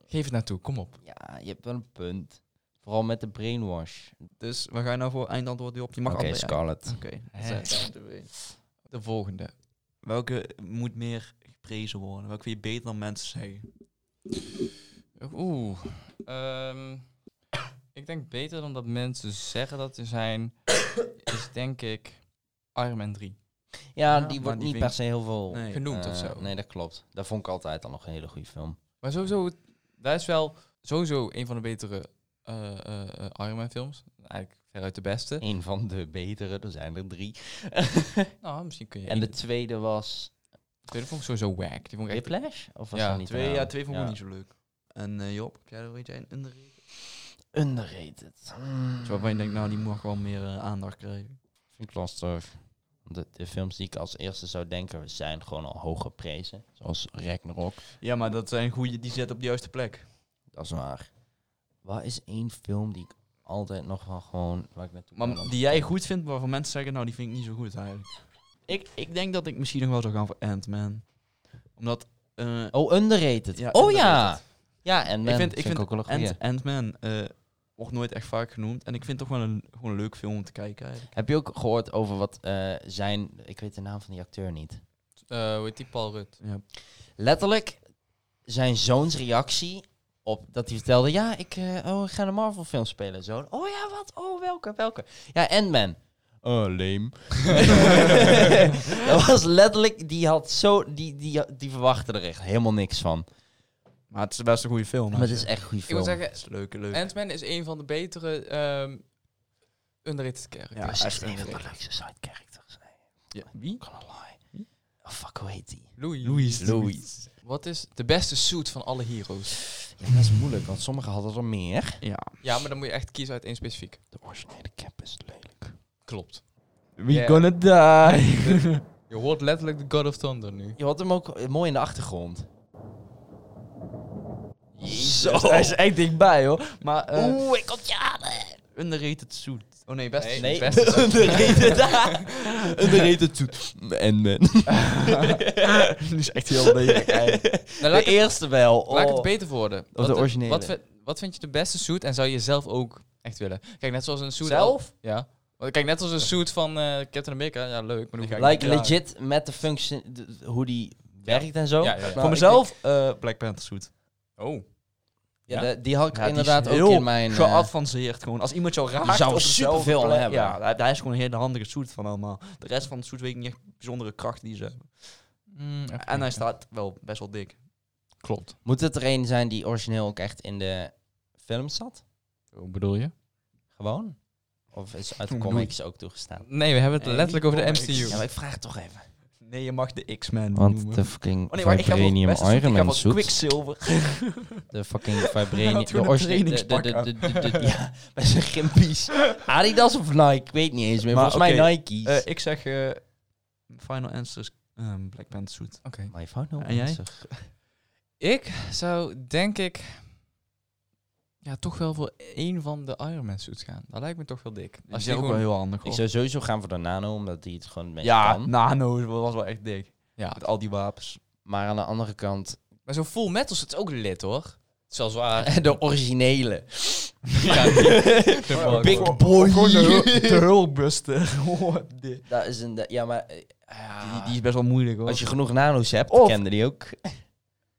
Speaker 1: Geef het naartoe, kom op.
Speaker 2: Ah, Ja, je hebt wel een punt. Vooral met de brainwash.
Speaker 3: Dus we gaan nou voor eindantwoord die op. Je mag
Speaker 2: Oké,
Speaker 3: allebei-
Speaker 2: Scarlet.
Speaker 3: Oké.
Speaker 1: Hè. De volgende.
Speaker 3: Welke moet meer geprezen worden? Welke vind je beter dan mensen zeggen?
Speaker 1: Oeh. Ehm, ik denk beter dan dat mensen zeggen dat ze zijn. is denk ik. Iron Man 3.
Speaker 2: Ja,
Speaker 3: Ja,
Speaker 2: die
Speaker 3: maar
Speaker 2: wordt
Speaker 3: die
Speaker 2: niet
Speaker 3: vind
Speaker 2: per se heel veel
Speaker 3: Nee.
Speaker 1: Genoemd
Speaker 2: eh,
Speaker 1: of zo.
Speaker 2: Nee, dat klopt. Dat vond ik altijd al nog een hele goede film.
Speaker 1: Maar sowieso, dat is wel sowieso een van de betere eh, eh, eh, Iron Man films. Eigenlijk veruit de beste.
Speaker 2: Een van de betere, er zijn er drie.
Speaker 1: Nou, misschien kun je...
Speaker 2: en de
Speaker 1: de
Speaker 2: tweede was
Speaker 1: tweede vond ik sowieso wack. Die vond ik echt...
Speaker 2: Whiplash? Of was
Speaker 1: Ja,
Speaker 2: dat niet
Speaker 3: Twee, ja,
Speaker 2: eraan?
Speaker 3: twee vond ik niet zo leuk. En eh, Job, heb jij er weet jij een underrated?
Speaker 2: Underrated. Hmm.
Speaker 3: Zo waarvan je denkt, nou, die mag wel meer eh, aandacht krijgen.
Speaker 2: Vind ik lastig. Want De, de films die ik als eerste zou denken zijn gewoon al hoog geprezen. Zoals Ragnarok.
Speaker 3: Ja, maar dat zijn goede, die zet op de juiste plek.
Speaker 2: Dat is waar. Wat is één film die ik altijd nog wel gewoon... Waar ik naartoe
Speaker 3: Maar
Speaker 2: kan om-
Speaker 3: die jij goed vindt, maar waarvan mensen zeggen, nou, die vind ik niet zo goed eigenlijk. Ik, ik denk dat ik misschien nog wel zou gaan voor Ant-Man. Omdat... eh,
Speaker 2: Oh, underrated.
Speaker 3: Ja,
Speaker 2: oh ja!
Speaker 3: underrated.
Speaker 2: Ja, en
Speaker 3: ik
Speaker 2: Man
Speaker 3: vind, ik vind,
Speaker 2: ook wel een goeie.
Speaker 3: Ant- Ant-Man eh, wordt nooit echt vaak genoemd. En ik vind het toch wel een, gewoon een leuk film om te kijken eigenlijk.
Speaker 2: Heb je ook gehoord over wat eh, zijn... Ik weet de naam van die acteur niet.
Speaker 1: eh hoe heet die? Paul Rudd.
Speaker 3: Ja.
Speaker 2: Letterlijk zijn zoons reactie op dat hij vertelde... Ja, ik, eh, oh, ik ga een Marvel film spelen. Zoon, oh ja, wat? Oh, welke? Welke? Ja, Ant-Man. Oh, lame. dat was letterlijk... Die had zo... Die, die, die verwachtte er echt helemaal niks van.
Speaker 3: Maar het is best een goede film.
Speaker 2: Maar het is echt een goede
Speaker 1: Ik
Speaker 2: film.
Speaker 1: moet zeggen,
Speaker 3: Het is leuk, leuk.
Speaker 1: Ant-Man is een van de betere ehm underrated characters.
Speaker 3: Ja,
Speaker 2: Dat is echt
Speaker 3: echt
Speaker 2: een van de
Speaker 3: leuk.
Speaker 2: leukste side characters. eh.
Speaker 3: Ja, wie?
Speaker 2: Gonna
Speaker 1: Hm?
Speaker 2: lie. Oh, fuck, hoe heet die?
Speaker 1: Louis.
Speaker 3: Louis.
Speaker 2: Louis.
Speaker 1: Wat is de beste suit van alle heroes?
Speaker 2: Ja, dat is moeilijk, want sommigen hadden er meer.
Speaker 3: Ja.
Speaker 1: Ja, maar dan moet je echt kiezen uit één specifiek.
Speaker 2: De originele cap is lelijk.
Speaker 1: Klopt.
Speaker 3: We
Speaker 1: Ja.
Speaker 3: gonna die.
Speaker 1: Je hoort letterlijk de God of Thunder nu.
Speaker 2: Je had hem ook eh, mooi in de achtergrond.
Speaker 3: Jezus, Hij is echt dichtbij, hoor. Maar eh
Speaker 2: Oeh, ik kom je aan.
Speaker 3: underrated suit.
Speaker 1: Oh nee, beste
Speaker 2: Nee,
Speaker 1: beste suit.
Speaker 2: underrated toet. En men.
Speaker 3: Die is echt heel lelijk eigenlijk.
Speaker 1: Nou,
Speaker 2: De
Speaker 1: laat, ik,
Speaker 2: eerste wel.
Speaker 1: laat ik het
Speaker 2: oh.
Speaker 1: beter worden.
Speaker 2: de originele.
Speaker 1: Wat, vi- wat vind je de beste suit en zou je zelf ook echt willen? Kijk, net zoals een suit...
Speaker 2: Zelf?
Speaker 1: al- ja. Want Kijk, net als een suit van eh, Captain America. Ja, leuk. Maar dan ga ik
Speaker 2: Like
Speaker 1: niet dragen.
Speaker 2: legit met de functie, de- de- hoe die werkt en zo.
Speaker 1: Ja, ja, ja.
Speaker 2: Nou,
Speaker 3: Voor
Speaker 2: ik-
Speaker 3: mezelf, eh, Black Panther suit.
Speaker 1: Oh. Ja.
Speaker 2: ja, de- die had ik
Speaker 3: Ja, die is
Speaker 2: inderdaad ook
Speaker 3: heel
Speaker 2: in mijn... eh,
Speaker 3: Geadvanceerd gewoon. Als iemand jou raakt
Speaker 2: Die zou
Speaker 3: op dezelfde
Speaker 2: superveel
Speaker 3: plek-
Speaker 2: hebben.
Speaker 3: Ja, hij- hij is gewoon een hele handige suit van allemaal. De rest van de suit weet ik niet echt bijzondere kracht die ze hebben.
Speaker 1: Mm,
Speaker 2: Mm,
Speaker 3: En hij staat wel best wel dik.
Speaker 1: Klopt.
Speaker 2: moet het er een zijn die origineel ook echt in de film zat?
Speaker 1: Hoe bedoel je?
Speaker 2: Gewoon? Of is uit de
Speaker 3: Hoe
Speaker 2: comics ook toegestaan?
Speaker 1: Nee, we hebben het
Speaker 3: Nee,
Speaker 1: letterlijk
Speaker 3: die
Speaker 1: over de
Speaker 3: comics.
Speaker 1: MCU.
Speaker 2: Ja, maar ik vraag toch even.
Speaker 3: Nee, je mag de X-Men noemen.
Speaker 2: Want de fucking
Speaker 3: Oh nee, maar ik ga voor
Speaker 2: Vibranium
Speaker 3: beste suit,
Speaker 2: Iron
Speaker 3: ik ga
Speaker 2: Man
Speaker 3: voor
Speaker 2: suit.
Speaker 3: Quicksilver.
Speaker 2: De fucking Vibranium...
Speaker 3: gewoon
Speaker 2: De
Speaker 3: een
Speaker 2: originele... de-
Speaker 3: trainingspak Eh,
Speaker 2: de- de- de- de- Ja, bij zijn gimpies. Adidas of Nike? Ik weet niet eens meer.
Speaker 3: Maar
Speaker 2: Volgens mij
Speaker 3: oké,
Speaker 2: Nike's.
Speaker 3: Eh, ik zeg eh, Final Answer is ehm, Black Panther suit.
Speaker 1: Oké.
Speaker 2: maar je fout nou
Speaker 3: en jij?
Speaker 2: bezig.
Speaker 1: Ik zou denk ik ja, toch wel voor één van de Iron Man suits gaan. Dat lijkt me toch wel dik. Als je gewoon,
Speaker 3: heel handig
Speaker 2: Ik zou sowieso gaan voor de Nano, omdat die het gewoon het meest
Speaker 3: Ja,
Speaker 2: kan.
Speaker 3: Nano was wel echt dik.
Speaker 1: ja.
Speaker 3: Met al die wapens.
Speaker 2: Maar aan de andere kant...
Speaker 1: Maar zo'n full metal suit is ook lid hoor. Zelfs waar.
Speaker 2: De originele.
Speaker 1: ja, die- de
Speaker 2: Big
Speaker 1: fuck.
Speaker 2: boy.
Speaker 3: de Hulkbuster.
Speaker 2: Dat is een... Ja, maar... eh, ja.
Speaker 3: die, die is best wel moeilijk hoor.
Speaker 2: Als je genoeg nano's hebt,
Speaker 3: Of-
Speaker 2: kende die ook.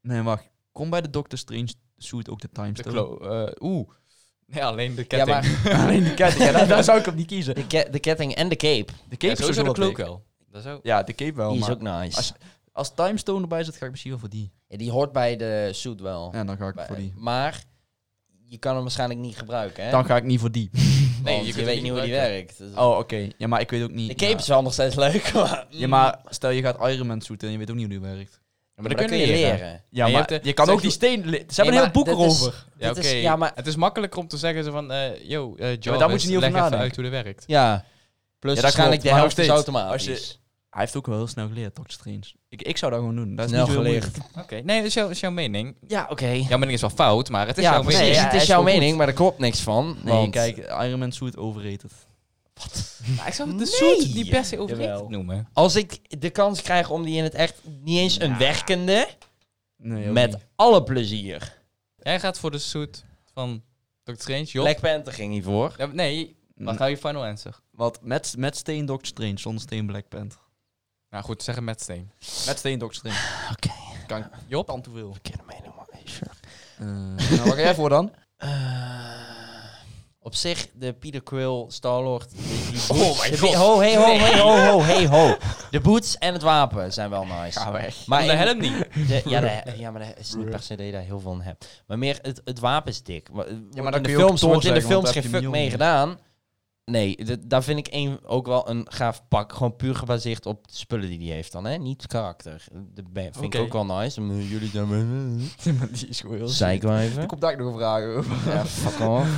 Speaker 3: Nee, wacht. Kom bij de Doctor Strange suit ook de
Speaker 1: De
Speaker 3: timestamp.
Speaker 1: klo. eh, Oeh. Nee, alleen de
Speaker 2: Ja,
Speaker 1: ketting.
Speaker 2: maar
Speaker 3: Alleen die ketting. Ja, daar, daar zou ik op niet kiezen.
Speaker 2: de, ke- de ketting en de cape,
Speaker 3: De
Speaker 1: Ja,
Speaker 3: cape is
Speaker 1: sowieso
Speaker 3: sowieso
Speaker 1: de
Speaker 3: wel
Speaker 1: cloak
Speaker 3: dik.
Speaker 1: wel. Dat is ook.
Speaker 3: Ja, de cape wel.
Speaker 2: die is
Speaker 3: Oh, maar
Speaker 2: ook nice.
Speaker 3: als- als Timestone erbij zit, ga ik misschien wel voor die.
Speaker 2: Ja, die hoort bij de suit wel.
Speaker 3: Ja, dan ga ik
Speaker 2: Bij-
Speaker 3: voor die.
Speaker 2: Maar je kan hem waarschijnlijk niet gebruiken, hè?
Speaker 3: Dan ga ik niet voor die.
Speaker 2: nee,
Speaker 1: Nee, je
Speaker 2: je,
Speaker 1: kunt
Speaker 2: weet
Speaker 1: hem
Speaker 2: niet
Speaker 1: niet
Speaker 2: hoe die werkt. Dus-
Speaker 3: Oh, oké. Ja, maar ik weet ook niet.
Speaker 2: de cape
Speaker 3: ja.
Speaker 2: is wel nog steeds leuk, maar...
Speaker 3: Ja, maar stel je gaat Iron Man zoeten en je weet ook niet hoe die werkt.
Speaker 1: Ja,
Speaker 2: Maar
Speaker 1: maar
Speaker 2: dat kun je leren.
Speaker 3: Ja,
Speaker 1: je
Speaker 3: maar
Speaker 1: hebt de-
Speaker 3: je kan
Speaker 1: zeg
Speaker 3: ook die
Speaker 1: je-
Speaker 3: steen... li- Ze hebben een heel boek erover.
Speaker 1: Ja, oké.
Speaker 2: Ja, maar...
Speaker 1: Het is makkelijker om te zeggen zo van, eh yo, eh Jarvis,
Speaker 3: daar moet je niet over
Speaker 1: leg even
Speaker 3: nadenken.
Speaker 1: uit hoe dat werkt.
Speaker 2: Ja. Plus
Speaker 3: dat
Speaker 2: Dus waarschijnlijk
Speaker 3: klopt,
Speaker 2: de
Speaker 3: maar nog
Speaker 2: helft is
Speaker 3: steeds.
Speaker 2: automatisch.
Speaker 3: Als Hij heeft ook wel heel snel geleerd, Doctor Strange. Ik, ik zou dat gewoon doen. Dat is
Speaker 2: Snel
Speaker 3: niet zo heel
Speaker 2: geleerd.
Speaker 3: moeilijk.
Speaker 1: Oké, nee, dat is, jouw, dat is jouw mening.
Speaker 2: Ja, oké.
Speaker 1: Jouw mening is wel fout, maar het is
Speaker 2: Ja,
Speaker 1: jouw
Speaker 2: precies.
Speaker 1: mening.
Speaker 3: ja,
Speaker 2: het
Speaker 3: hij
Speaker 2: is
Speaker 3: is
Speaker 2: jouw
Speaker 3: wel goed.
Speaker 2: mening, maar daar klopt niks van.
Speaker 3: Nee,
Speaker 2: want-
Speaker 3: kijk, Iron Man suit overrated.
Speaker 1: Maar ik zou de
Speaker 2: Nee.
Speaker 1: suit niet per se overrated
Speaker 2: Jawel.
Speaker 1: noemen.
Speaker 2: Als ik de kans krijg om die in het echt niet eens een
Speaker 3: Ja.
Speaker 2: werkende,
Speaker 3: Nee, ook
Speaker 2: met
Speaker 3: niet.
Speaker 2: alle plezier.
Speaker 1: Jij gaat voor de suit van Dr. Strange, Job.
Speaker 2: Black Panther ging hiervoor.
Speaker 1: Ja, nee,
Speaker 3: Mm.
Speaker 1: wat nou je final answer?
Speaker 3: Wat, met, met steen Doctor Strange, zonder steen Black Panther.
Speaker 1: Nou goed, zeg hem met steen.
Speaker 3: Met steen Doctor Strange.
Speaker 2: Ah, Oké.
Speaker 3: Kan ik
Speaker 1: Job?
Speaker 3: dan te veel. Eh,
Speaker 2: Verkeerde mening, maar sure.
Speaker 3: nou, wat ga jij voor dan?
Speaker 2: Eh, op zich, de Peter Quill, Star-Lord... die- die
Speaker 3: Oh
Speaker 2: boots-
Speaker 3: mijn
Speaker 2: de-
Speaker 3: god.
Speaker 2: Ho, hey, ho, hey, ho, ho, hey, ho. De boots en het wapen zijn wel nice.
Speaker 3: Ga weg.
Speaker 1: Maar de
Speaker 2: in-
Speaker 1: helm niet.
Speaker 2: de- ja, de- ja, maar dat is niet per se dat je daar heel veel aan hebt. Maar meer, het, het wapen is dik. Maar, ja,
Speaker 3: dan
Speaker 2: maar in
Speaker 3: kun
Speaker 2: de
Speaker 3: je ook
Speaker 2: films
Speaker 3: Thor
Speaker 2: wordt in de
Speaker 3: zeggen, want
Speaker 2: films
Speaker 3: daar
Speaker 2: geen
Speaker 3: heb je
Speaker 2: fuck
Speaker 3: Mjolnir.
Speaker 2: mee gedaan. Nee, d- daar vind ik één ook wel een gaaf pak. Gewoon puur gebaseerd op de spullen die hij heeft dan, hè? Niet karakter. De ba- vind
Speaker 1: Oké.
Speaker 2: ik ook wel nice. Maar Jullie dan...
Speaker 3: maar die is gewoon heel
Speaker 2: Zeik wel
Speaker 3: shit.
Speaker 2: even.
Speaker 3: Ik kom daar ook nog een vraag over.
Speaker 2: Ja, fuck off.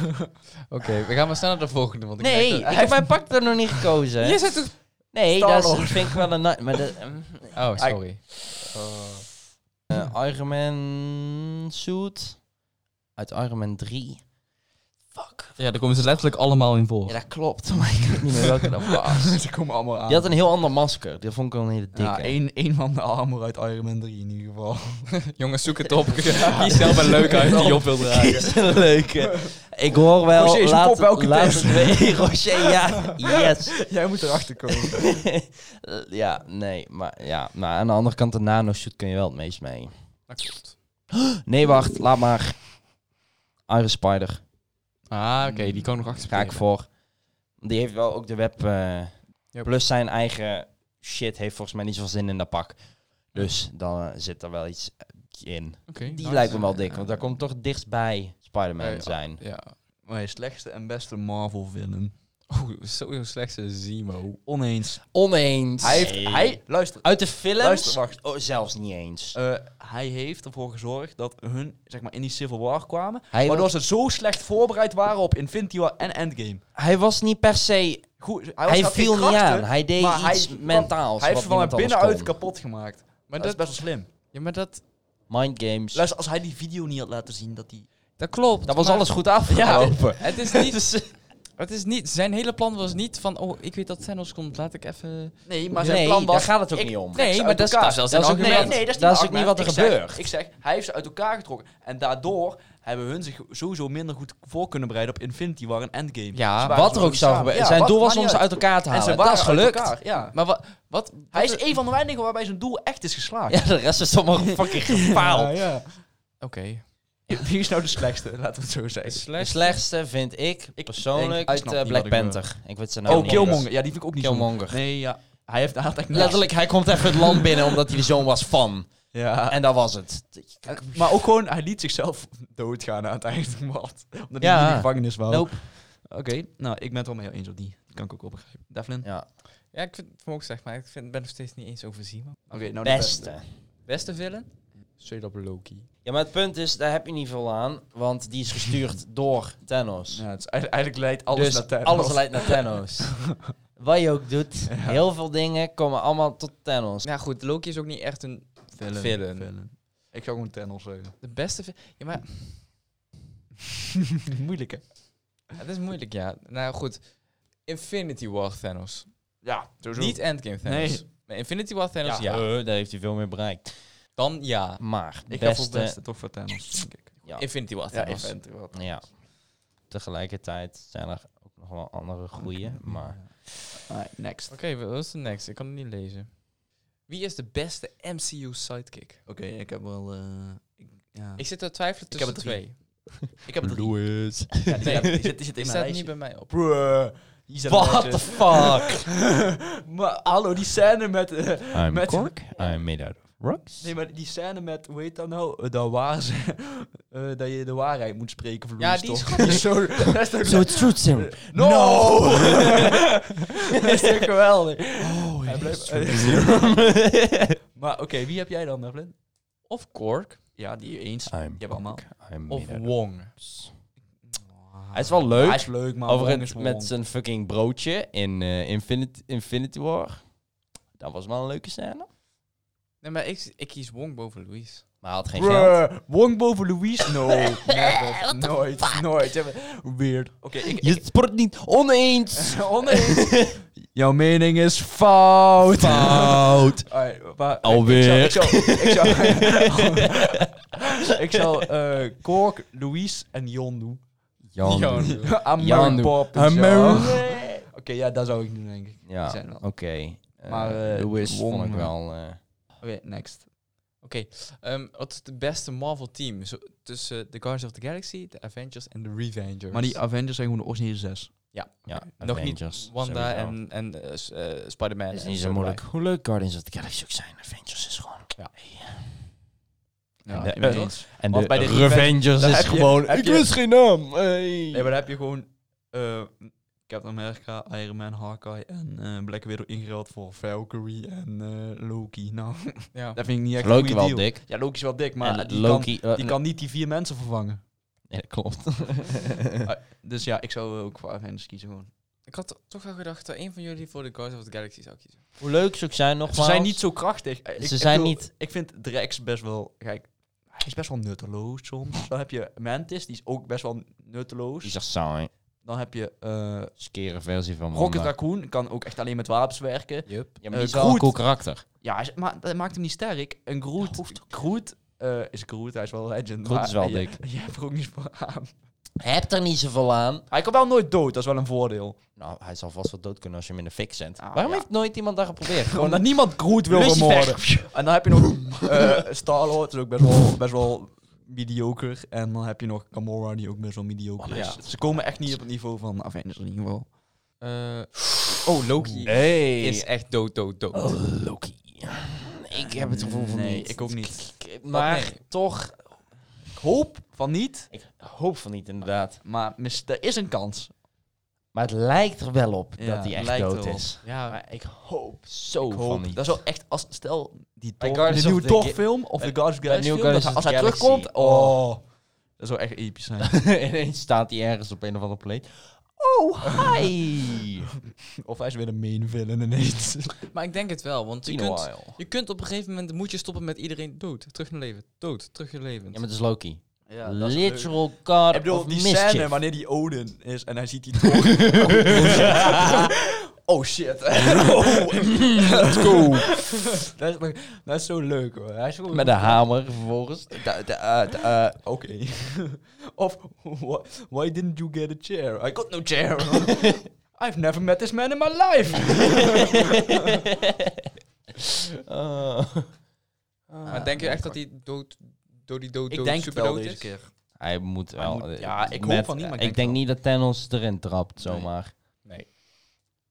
Speaker 1: Oké, we gaan maar snel naar de volgende. Want ik
Speaker 2: Nee,
Speaker 1: merk
Speaker 2: ik
Speaker 1: dat-
Speaker 2: heb mijn pak er nog niet gekozen.
Speaker 1: Je zit toch...
Speaker 2: Nee, dat is-
Speaker 3: Star-Lord.
Speaker 2: vind ik wel een... ni- Maar de, ehm,
Speaker 1: Oh, sorry.
Speaker 3: Oh.
Speaker 2: Eh, Iron Man suit uit Iron Man 3. Fuck.
Speaker 1: Ja, daar komen ze letterlijk allemaal in voor.
Speaker 2: Ja, dat klopt. Maar ik weet niet meer welke dat was.
Speaker 3: Ze komen allemaal aan.
Speaker 2: Die had een heel ander masker. Die vond ik wel een hele dikke.
Speaker 3: ja, één, één van de armor uit Iron Man 3 in ieder geval.
Speaker 1: Jongens, zoek het op. Kies zelf een leuke uit die je op wil dragen.
Speaker 2: Kies een leuke. Ik hoor wel...
Speaker 3: Roger, is je
Speaker 2: laat,
Speaker 3: pop elke
Speaker 2: laat
Speaker 3: test?
Speaker 2: het weten. Roger, ja. Yes.
Speaker 3: Jij moet erachter komen.
Speaker 2: ja, nee. Maar ja, maar aan de andere kant, de nano-suit kun je wel het meest mee.
Speaker 1: Dat klopt.
Speaker 2: Nee, wacht. Laat maar. Iron Spider.
Speaker 1: Ah, oké, die kan ik nog achter
Speaker 2: hmm. Ga ik voor. Die heeft wel ook de web. eh,
Speaker 1: Yep.
Speaker 2: Plus zijn eigen shit heeft volgens mij niet zoveel zin in dat pak. Dus dan eh, zit er wel iets eh, in.
Speaker 1: Oké,
Speaker 2: Die
Speaker 1: nice.
Speaker 2: lijkt me wel dik, want daar komt toch dichtstbij Spider-Man
Speaker 1: Ja, ja.
Speaker 2: zijn.
Speaker 1: Ja.
Speaker 3: Mijn slechtste en beste Marvel villain.
Speaker 1: Oh, sowieso slechtste Zemo.
Speaker 3: Oneens.
Speaker 2: Oneens.
Speaker 3: Hij heeft...
Speaker 2: Nee.
Speaker 3: Hij, luister.
Speaker 2: Uit de films?
Speaker 3: Luister, wacht.
Speaker 2: Oh, zelfs niet eens.
Speaker 3: Eh, hij heeft ervoor gezorgd dat hun zeg maar, in die Civil War kwamen.
Speaker 2: hij,
Speaker 3: waardoor
Speaker 2: was,
Speaker 3: ze zo slecht voorbereid waren op Infinity War en Endgame.
Speaker 2: hij was niet per se...
Speaker 3: Goed, hij, was-
Speaker 2: Hij
Speaker 3: had geen
Speaker 2: viel niet
Speaker 3: krachten,
Speaker 2: aan. Hij deed
Speaker 3: maar hij
Speaker 2: iets
Speaker 3: kwam-
Speaker 2: mentaals.
Speaker 3: Hij heeft
Speaker 2: wat
Speaker 3: van
Speaker 2: niemand anders
Speaker 3: binnenuit
Speaker 2: kon.
Speaker 3: kapot gemaakt.
Speaker 1: Maar
Speaker 3: dat is
Speaker 1: dat,
Speaker 3: best wel slim.
Speaker 1: ja, maar dat,
Speaker 2: Mind games.
Speaker 3: Luister, als hij die video niet had laten zien dat hij...
Speaker 1: dat klopt.
Speaker 2: dat was
Speaker 1: maar
Speaker 2: alles goed afgelopen.
Speaker 1: Het is, niet, het is niet... Zijn hele plan was niet van... Oh, ik weet dat Thanos komt. Laat ik even...
Speaker 3: Nee, maar zijn
Speaker 2: nee,
Speaker 3: plan was...
Speaker 2: daar gaat het ook
Speaker 3: ik-
Speaker 2: niet om.
Speaker 3: trek ze
Speaker 1: maar
Speaker 3: uit
Speaker 1: dat is-
Speaker 3: elkaar.
Speaker 1: dat is wel zijn
Speaker 3: ook-
Speaker 1: argument.
Speaker 3: Nee, nee, dat is,
Speaker 2: Dat
Speaker 3: niet
Speaker 2: is ook
Speaker 3: mijn
Speaker 2: niet wat
Speaker 3: argument.
Speaker 2: er
Speaker 3: Ik zeg-
Speaker 2: gebeurt.
Speaker 3: Ik zeg, hij heeft ze uit elkaar getrokken. En daardoor hebben hun zich sowieso minder goed voor kunnen bereiden op Infinity War en Endgame.
Speaker 1: Ja,
Speaker 3: Ze waren
Speaker 2: Wat er
Speaker 3: gewoon
Speaker 2: ook zou
Speaker 3: samen.
Speaker 2: gebeuren.
Speaker 3: Ja,
Speaker 2: zijn
Speaker 3: wat-
Speaker 2: doel was
Speaker 3: maakt
Speaker 2: om
Speaker 3: niet
Speaker 2: ze
Speaker 3: uit.
Speaker 2: uit elkaar te
Speaker 3: En ze
Speaker 2: halen.
Speaker 3: waren
Speaker 2: Dat is
Speaker 3: uit
Speaker 2: gelukt.
Speaker 3: elkaar, ja.
Speaker 1: Maar wat... wat
Speaker 3: Hij is een van de weinigen waarbij zijn doel echt is geslaagd.
Speaker 2: Ja, de rest is allemaal fucking gefaald.
Speaker 1: Oké.
Speaker 3: Wie is nou de slechtste? Laten we het zo zeggen.
Speaker 2: De slechtste vind ik, persoonlijk
Speaker 3: denk- ik
Speaker 2: uit
Speaker 3: snap
Speaker 2: eh,
Speaker 3: niet
Speaker 2: Black
Speaker 3: wat ik wil.
Speaker 2: Panther. Ik weet zijn naam
Speaker 3: Oh,
Speaker 2: niet.
Speaker 3: Killmonger. Ja, die vind ik ook niet zo.
Speaker 2: Nou, Killmonger.
Speaker 3: Nee, ja. Hij heeft hij had echt niks.
Speaker 2: Letterlijk, hij komt even het land binnen omdat hij de zoon was van.
Speaker 3: Ja.
Speaker 2: En dat was het.
Speaker 3: En- Eh, maar ook gewoon, hij liet zichzelf doodgaan aan het eind. Wat? Omdat hij
Speaker 2: Ja.
Speaker 3: in de gevangenis wou.
Speaker 2: Nope.
Speaker 3: Oké, nou, ik ben het wel mee eens op die. Dat kan ik ook wel begrijpen. Devlin?
Speaker 2: Ja.
Speaker 1: Ja, ik vind het voor me ook zeg maar. Ik vind, ben nog steeds niet eens over Zemo.
Speaker 3: Oké, nou de
Speaker 2: Beste.
Speaker 1: Beste villain? Straight up Loki.
Speaker 2: Ja, maar het punt is, daar heb je niet veel aan. Want die is gestuurd door Thanos.
Speaker 3: Ja, het is, eigenlijk eigenlijk leidt alles
Speaker 2: dus
Speaker 3: naar Thanos.
Speaker 2: alles leidt naar Thanos. Wat je ook doet, heel veel dingen komen allemaal tot Thanos.
Speaker 1: Nou goed, Loki is ook niet echt een...
Speaker 3: Villain,
Speaker 1: Villain.
Speaker 3: villain. Ik zou gewoon Thanos zeggen.
Speaker 1: De beste vi- Ja, maar...
Speaker 3: Moeilijk, hè?
Speaker 1: Het is moeilijk, ja. Nou goed. Infinity War Thanos.
Speaker 3: Ja, sowieso.
Speaker 1: Niet Endgame Thanos.
Speaker 3: Nee.
Speaker 1: Maar Infinity War Thanos, ja.
Speaker 2: eh, daar heeft hij veel meer bereikt.
Speaker 1: Dan ja.
Speaker 2: Maar,
Speaker 3: ik ga voor het
Speaker 2: beste...
Speaker 3: beste toch voor Thanos, denk ik.
Speaker 2: Ja.
Speaker 1: Infinity War
Speaker 3: Ja, ik
Speaker 1: Thanos.
Speaker 3: vind het wel.
Speaker 2: Ja. Tegelijkertijd zijn er ook nog wel andere goeie, maar...
Speaker 3: Alright, next.
Speaker 1: Oké, wat is de next? Ik kan het niet lezen. Wie is de beste MCU sidekick?
Speaker 3: Oké, ik heb wel... eh, ik, ja.
Speaker 1: Ik zit te twijfelen
Speaker 3: Ik heb
Speaker 1: tussen
Speaker 3: er
Speaker 1: twee.
Speaker 3: drie. Ik heb het drie.
Speaker 2: Louis.
Speaker 3: Ja,
Speaker 1: Nee.
Speaker 3: die, die zit, die
Speaker 1: Die
Speaker 3: zit in mijn
Speaker 1: staat
Speaker 3: lijstje.
Speaker 1: niet bij mij op.
Speaker 3: Bruh. Die zijn
Speaker 2: What the
Speaker 3: netjes.
Speaker 2: fuck?
Speaker 3: maar hallo, die scène met... eh,
Speaker 2: I'm
Speaker 3: Met-
Speaker 2: cork, I'm made out of rocks.
Speaker 3: nee, maar die scène met... Hoe heet dat nou? Eh, dat waar ze... eh, dat je de waarheid moet spreken voor
Speaker 1: Ja,
Speaker 3: Louis,
Speaker 1: die is
Speaker 3: toch?
Speaker 1: goed.
Speaker 3: zo, dat is toch...
Speaker 2: So it's truth serum.
Speaker 3: no!
Speaker 2: No!
Speaker 3: dat is toch geweldig?
Speaker 2: Oh,
Speaker 3: Hij
Speaker 2: yes,
Speaker 3: blijft-
Speaker 2: truth
Speaker 3: eh,
Speaker 2: serum.
Speaker 3: maar oké, wie heb jij dan, Evelyn?
Speaker 1: Of Kork.
Speaker 3: Ja, die eens.
Speaker 2: I'm
Speaker 3: hebt allemaal.
Speaker 2: cork, I'm
Speaker 1: Of
Speaker 2: made out of
Speaker 1: Wong.
Speaker 2: rocks. Ah, Hij is wel
Speaker 3: Hij
Speaker 2: leuk.
Speaker 3: is leuk, maar Wong
Speaker 2: Overigens
Speaker 3: is
Speaker 2: met eh,
Speaker 3: Wong.
Speaker 2: zijn fucking broodje in eh, Infinity, Infinity War. Dat was wel een leuke scène.
Speaker 1: Nee, maar ik, ik kies Wong boven Louise.
Speaker 2: Maar hij had geen geld.
Speaker 3: Bruh, Wong boven Louis? No, never, nooit, nooit. Weird. Oké, ik...
Speaker 2: Je sport niet oneens.
Speaker 3: Oneens. Jouw mening is fout.
Speaker 2: Fout.
Speaker 3: Alright, maar-
Speaker 2: Alweer.
Speaker 3: Ik zou... Ik zou, ik zou, ik zou eh, Kork, Luis en Jon doen.
Speaker 2: Jan. Jon
Speaker 3: American
Speaker 2: doen.
Speaker 3: Pop. en zo. Oké, ja, dat zou ik doen, denk ik.
Speaker 2: Ja,
Speaker 3: Die zijn wel-
Speaker 2: oké. Eh,
Speaker 3: Maar, eh,
Speaker 2: Lewis
Speaker 3: Wong,
Speaker 2: vond ik
Speaker 3: eh,
Speaker 2: wel... eh,
Speaker 3: Oké, next.
Speaker 1: Ehm, wat is het beste Marvel-team? Zo- Tussen de Guardians of the Galaxy, de Avengers en de Revengers.
Speaker 3: Maar die Avengers zijn gewoon de originele zes.
Speaker 1: Ja,
Speaker 2: Ja,
Speaker 1: nog
Speaker 2: Avengers,
Speaker 1: niet Wanda
Speaker 2: sowieso.
Speaker 1: en, en eh, s- eh, Spider-Man.
Speaker 2: Het is
Speaker 1: en
Speaker 2: niet zo
Speaker 1: erbij.
Speaker 2: moeilijk. Hoe leuk Guardians of the Galaxy ook zijn. Avengers is gewoon...
Speaker 1: Ja.
Speaker 2: Ja,
Speaker 3: Ja,
Speaker 2: de-
Speaker 3: ik ben het
Speaker 1: eh,
Speaker 3: eens.
Speaker 2: En
Speaker 1: Want
Speaker 2: de
Speaker 1: bij de
Speaker 2: Revengers
Speaker 1: daar
Speaker 2: is
Speaker 1: heb je-
Speaker 2: gewoon...
Speaker 1: heb
Speaker 2: Ik
Speaker 1: je-
Speaker 2: wist geen naam! Hey.
Speaker 3: Nee, maar daar heb je gewoon eh, Captain America, Iron Man, Hawkeye en eh, Black Widow ingeruild voor Valkyrie en eh, Loki. Nou,
Speaker 1: Ja.
Speaker 3: dat vind ik niet echt een
Speaker 2: Loki
Speaker 3: goede
Speaker 2: wel
Speaker 3: deal.
Speaker 2: dik.
Speaker 3: Ja, Loki is wel dik, maar
Speaker 2: Maar
Speaker 3: die,
Speaker 2: Loki... eh,
Speaker 3: Kan, die kan niet die vier mensen vervangen.
Speaker 2: Nee, dat klopt.
Speaker 3: Dus ja, ik zou ook voor Avengers kiezen gewoon.
Speaker 1: Ik had to- toch wel gedacht dat een van jullie voor de Guardians of the Galaxy zou kiezen.
Speaker 2: Hoe leuk ze ook zijn, nogmaals.
Speaker 3: Ze zijn niet zo krachtig. Eh, ik-
Speaker 2: Ze
Speaker 3: ik
Speaker 2: zijn
Speaker 3: wil-
Speaker 2: niet-
Speaker 3: Ik vind Drex best wel... Kijk, hij is best wel nutteloos soms. Dan heb je Mantis, die is ook best wel nutteloos.
Speaker 2: Die is echt saai.
Speaker 3: Dan heb je eh,
Speaker 2: Skere versie van Wanda.
Speaker 3: Rocket Raccoon, kan ook echt alleen met wapens werken.
Speaker 1: Yup.
Speaker 2: Ja,
Speaker 3: Eh,
Speaker 2: maar die is wel een
Speaker 3: Groot.
Speaker 2: cool karakter.
Speaker 3: Ja, hij is- maar dat maakt hem niet sterk. Een Groot, Groot eh, is Groot, hij is wel legend.
Speaker 2: Groot
Speaker 3: maar
Speaker 2: is wel
Speaker 3: je-
Speaker 2: dik.
Speaker 3: Je hebt er ook niet voor aan.
Speaker 2: Heb er niet zoveel aan.
Speaker 3: Hij kan wel nooit dood, dat is wel een voordeel.
Speaker 2: Nou, hij zal vast wel dood kunnen als je hem in de fik zendt.
Speaker 3: Ah,
Speaker 2: Waarom
Speaker 3: ja.
Speaker 2: heeft nooit iemand daar geprobeerd?
Speaker 3: Gewoon
Speaker 2: Gewoon
Speaker 3: dat niemand Groot wil
Speaker 2: Lucifer.
Speaker 3: vermoorden. En dan heb je nog eh Star-Lord, is ook best wel, best wel mediocre. En dan heb je nog Gamora, die ook best wel mediocre
Speaker 2: Oh,
Speaker 3: is.
Speaker 2: ja.
Speaker 3: Ze komen echt niet op het niveau van Avengers in ieder geval.
Speaker 1: oh, Loki
Speaker 2: Hey.
Speaker 1: is echt dood, dood, dood.
Speaker 2: Oh, Loki. Ik heb het gevoel van
Speaker 3: nee,
Speaker 2: niet.
Speaker 3: ik ook niet.
Speaker 2: Maar
Speaker 1: nee.
Speaker 2: toch...
Speaker 3: Ik hoop van niet,
Speaker 2: Ik hoop van niet, inderdaad.
Speaker 3: maar mis- er is een kans.
Speaker 2: Maar het lijkt er wel op
Speaker 3: Ja,
Speaker 2: dat hij
Speaker 3: het
Speaker 2: echt
Speaker 3: lijkt
Speaker 2: dood
Speaker 3: erop.
Speaker 2: is.
Speaker 1: Ja,
Speaker 2: Maar ik hoop zo
Speaker 3: Ik
Speaker 2: Oh, van
Speaker 3: hoop,
Speaker 2: niet.
Speaker 3: dat is wel echt, als, stel die
Speaker 2: Bij
Speaker 3: Thor,
Speaker 2: Guardians
Speaker 3: de nieuwe
Speaker 2: of the Ga-
Speaker 3: Thor-film of de
Speaker 2: bij-
Speaker 3: Guardians of the Galaxy
Speaker 2: nieuwe
Speaker 3: film,
Speaker 2: Guardians
Speaker 3: dat
Speaker 2: of
Speaker 3: hij-
Speaker 2: the
Speaker 3: als hij
Speaker 2: Galaxy.
Speaker 3: terugkomt, oh, dat zou echt episch zijn.
Speaker 2: Ineens staat hij ergens op een of andere plek. Oh, hi!
Speaker 3: of hij is weer een main villain ineens.
Speaker 1: maar ik denk het wel, want je
Speaker 2: Been a
Speaker 1: kunt,
Speaker 2: while.
Speaker 1: je kunt op een gegeven moment moet je stoppen met iedereen dood, terug naar leven, dood, terug naar leven.
Speaker 2: Ja, maar het is Loki.
Speaker 3: ja,
Speaker 2: Literal god
Speaker 3: Ik bedoel,
Speaker 2: of
Speaker 3: die
Speaker 2: mischief.
Speaker 3: scène wanneer die Odin is en hij ziet die Thor. oh shit. Let's go. dat, is, nog- dat is zo leuk hoor. Hij is gewoon...
Speaker 2: Met een hamer vervolgens.
Speaker 3: Da- da- da- eh, Oké. of, wha- why didn't you get a chair? I got no chair. I've never met this man in my life.
Speaker 2: Eh,
Speaker 3: Ah.
Speaker 1: Maar denk je echt dat hij dood, dood, die dood, dood, super dood is?
Speaker 2: hij moet wel.
Speaker 3: moet-
Speaker 2: eh,
Speaker 3: ja, ik hoop van niet, maar
Speaker 2: ik
Speaker 3: ik denk
Speaker 2: denk
Speaker 3: wel.
Speaker 2: niet dat Thanos erin trapt zomaar.
Speaker 1: Nee.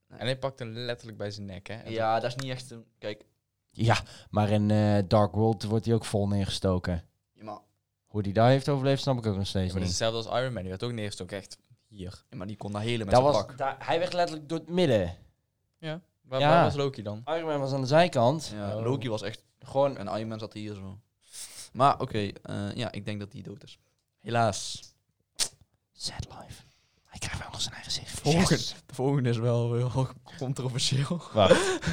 Speaker 1: En hij pakt hem letterlijk bij zijn nek, hè?
Speaker 3: Ja, dat is niet echt een... Kijk,
Speaker 2: Ja, maar in eh, Dark World wordt hij ook vol neergestoken.
Speaker 3: ja, maar,
Speaker 2: Hoe hij daar heeft overleefd, snap ik ook nog
Speaker 1: Ja,
Speaker 2: steeds
Speaker 1: maar het
Speaker 2: niet.
Speaker 1: is hetzelfde als Iron Man, die werd ook neergestoken, echt hier.
Speaker 3: ja, maar die kon daar hele met
Speaker 2: Dat
Speaker 3: zijn
Speaker 2: was,
Speaker 3: pak.
Speaker 2: daar- hij werd letterlijk door het midden.
Speaker 1: Ja. Waar,
Speaker 3: ah.
Speaker 2: Ja.
Speaker 1: waar was Loki dan?
Speaker 2: Iron Man was aan de zijkant.
Speaker 3: Ja,
Speaker 1: Oh.
Speaker 3: Loki was echt...
Speaker 2: Gewoon
Speaker 3: En Iron Man zat hier zo. Maar oké, eh, ja, ik denk dat die dood is. Helaas.
Speaker 2: sad life. Hij krijgt wel nog zijn eigen zicht.
Speaker 3: Volgende, de volgende is wel heel controversieel.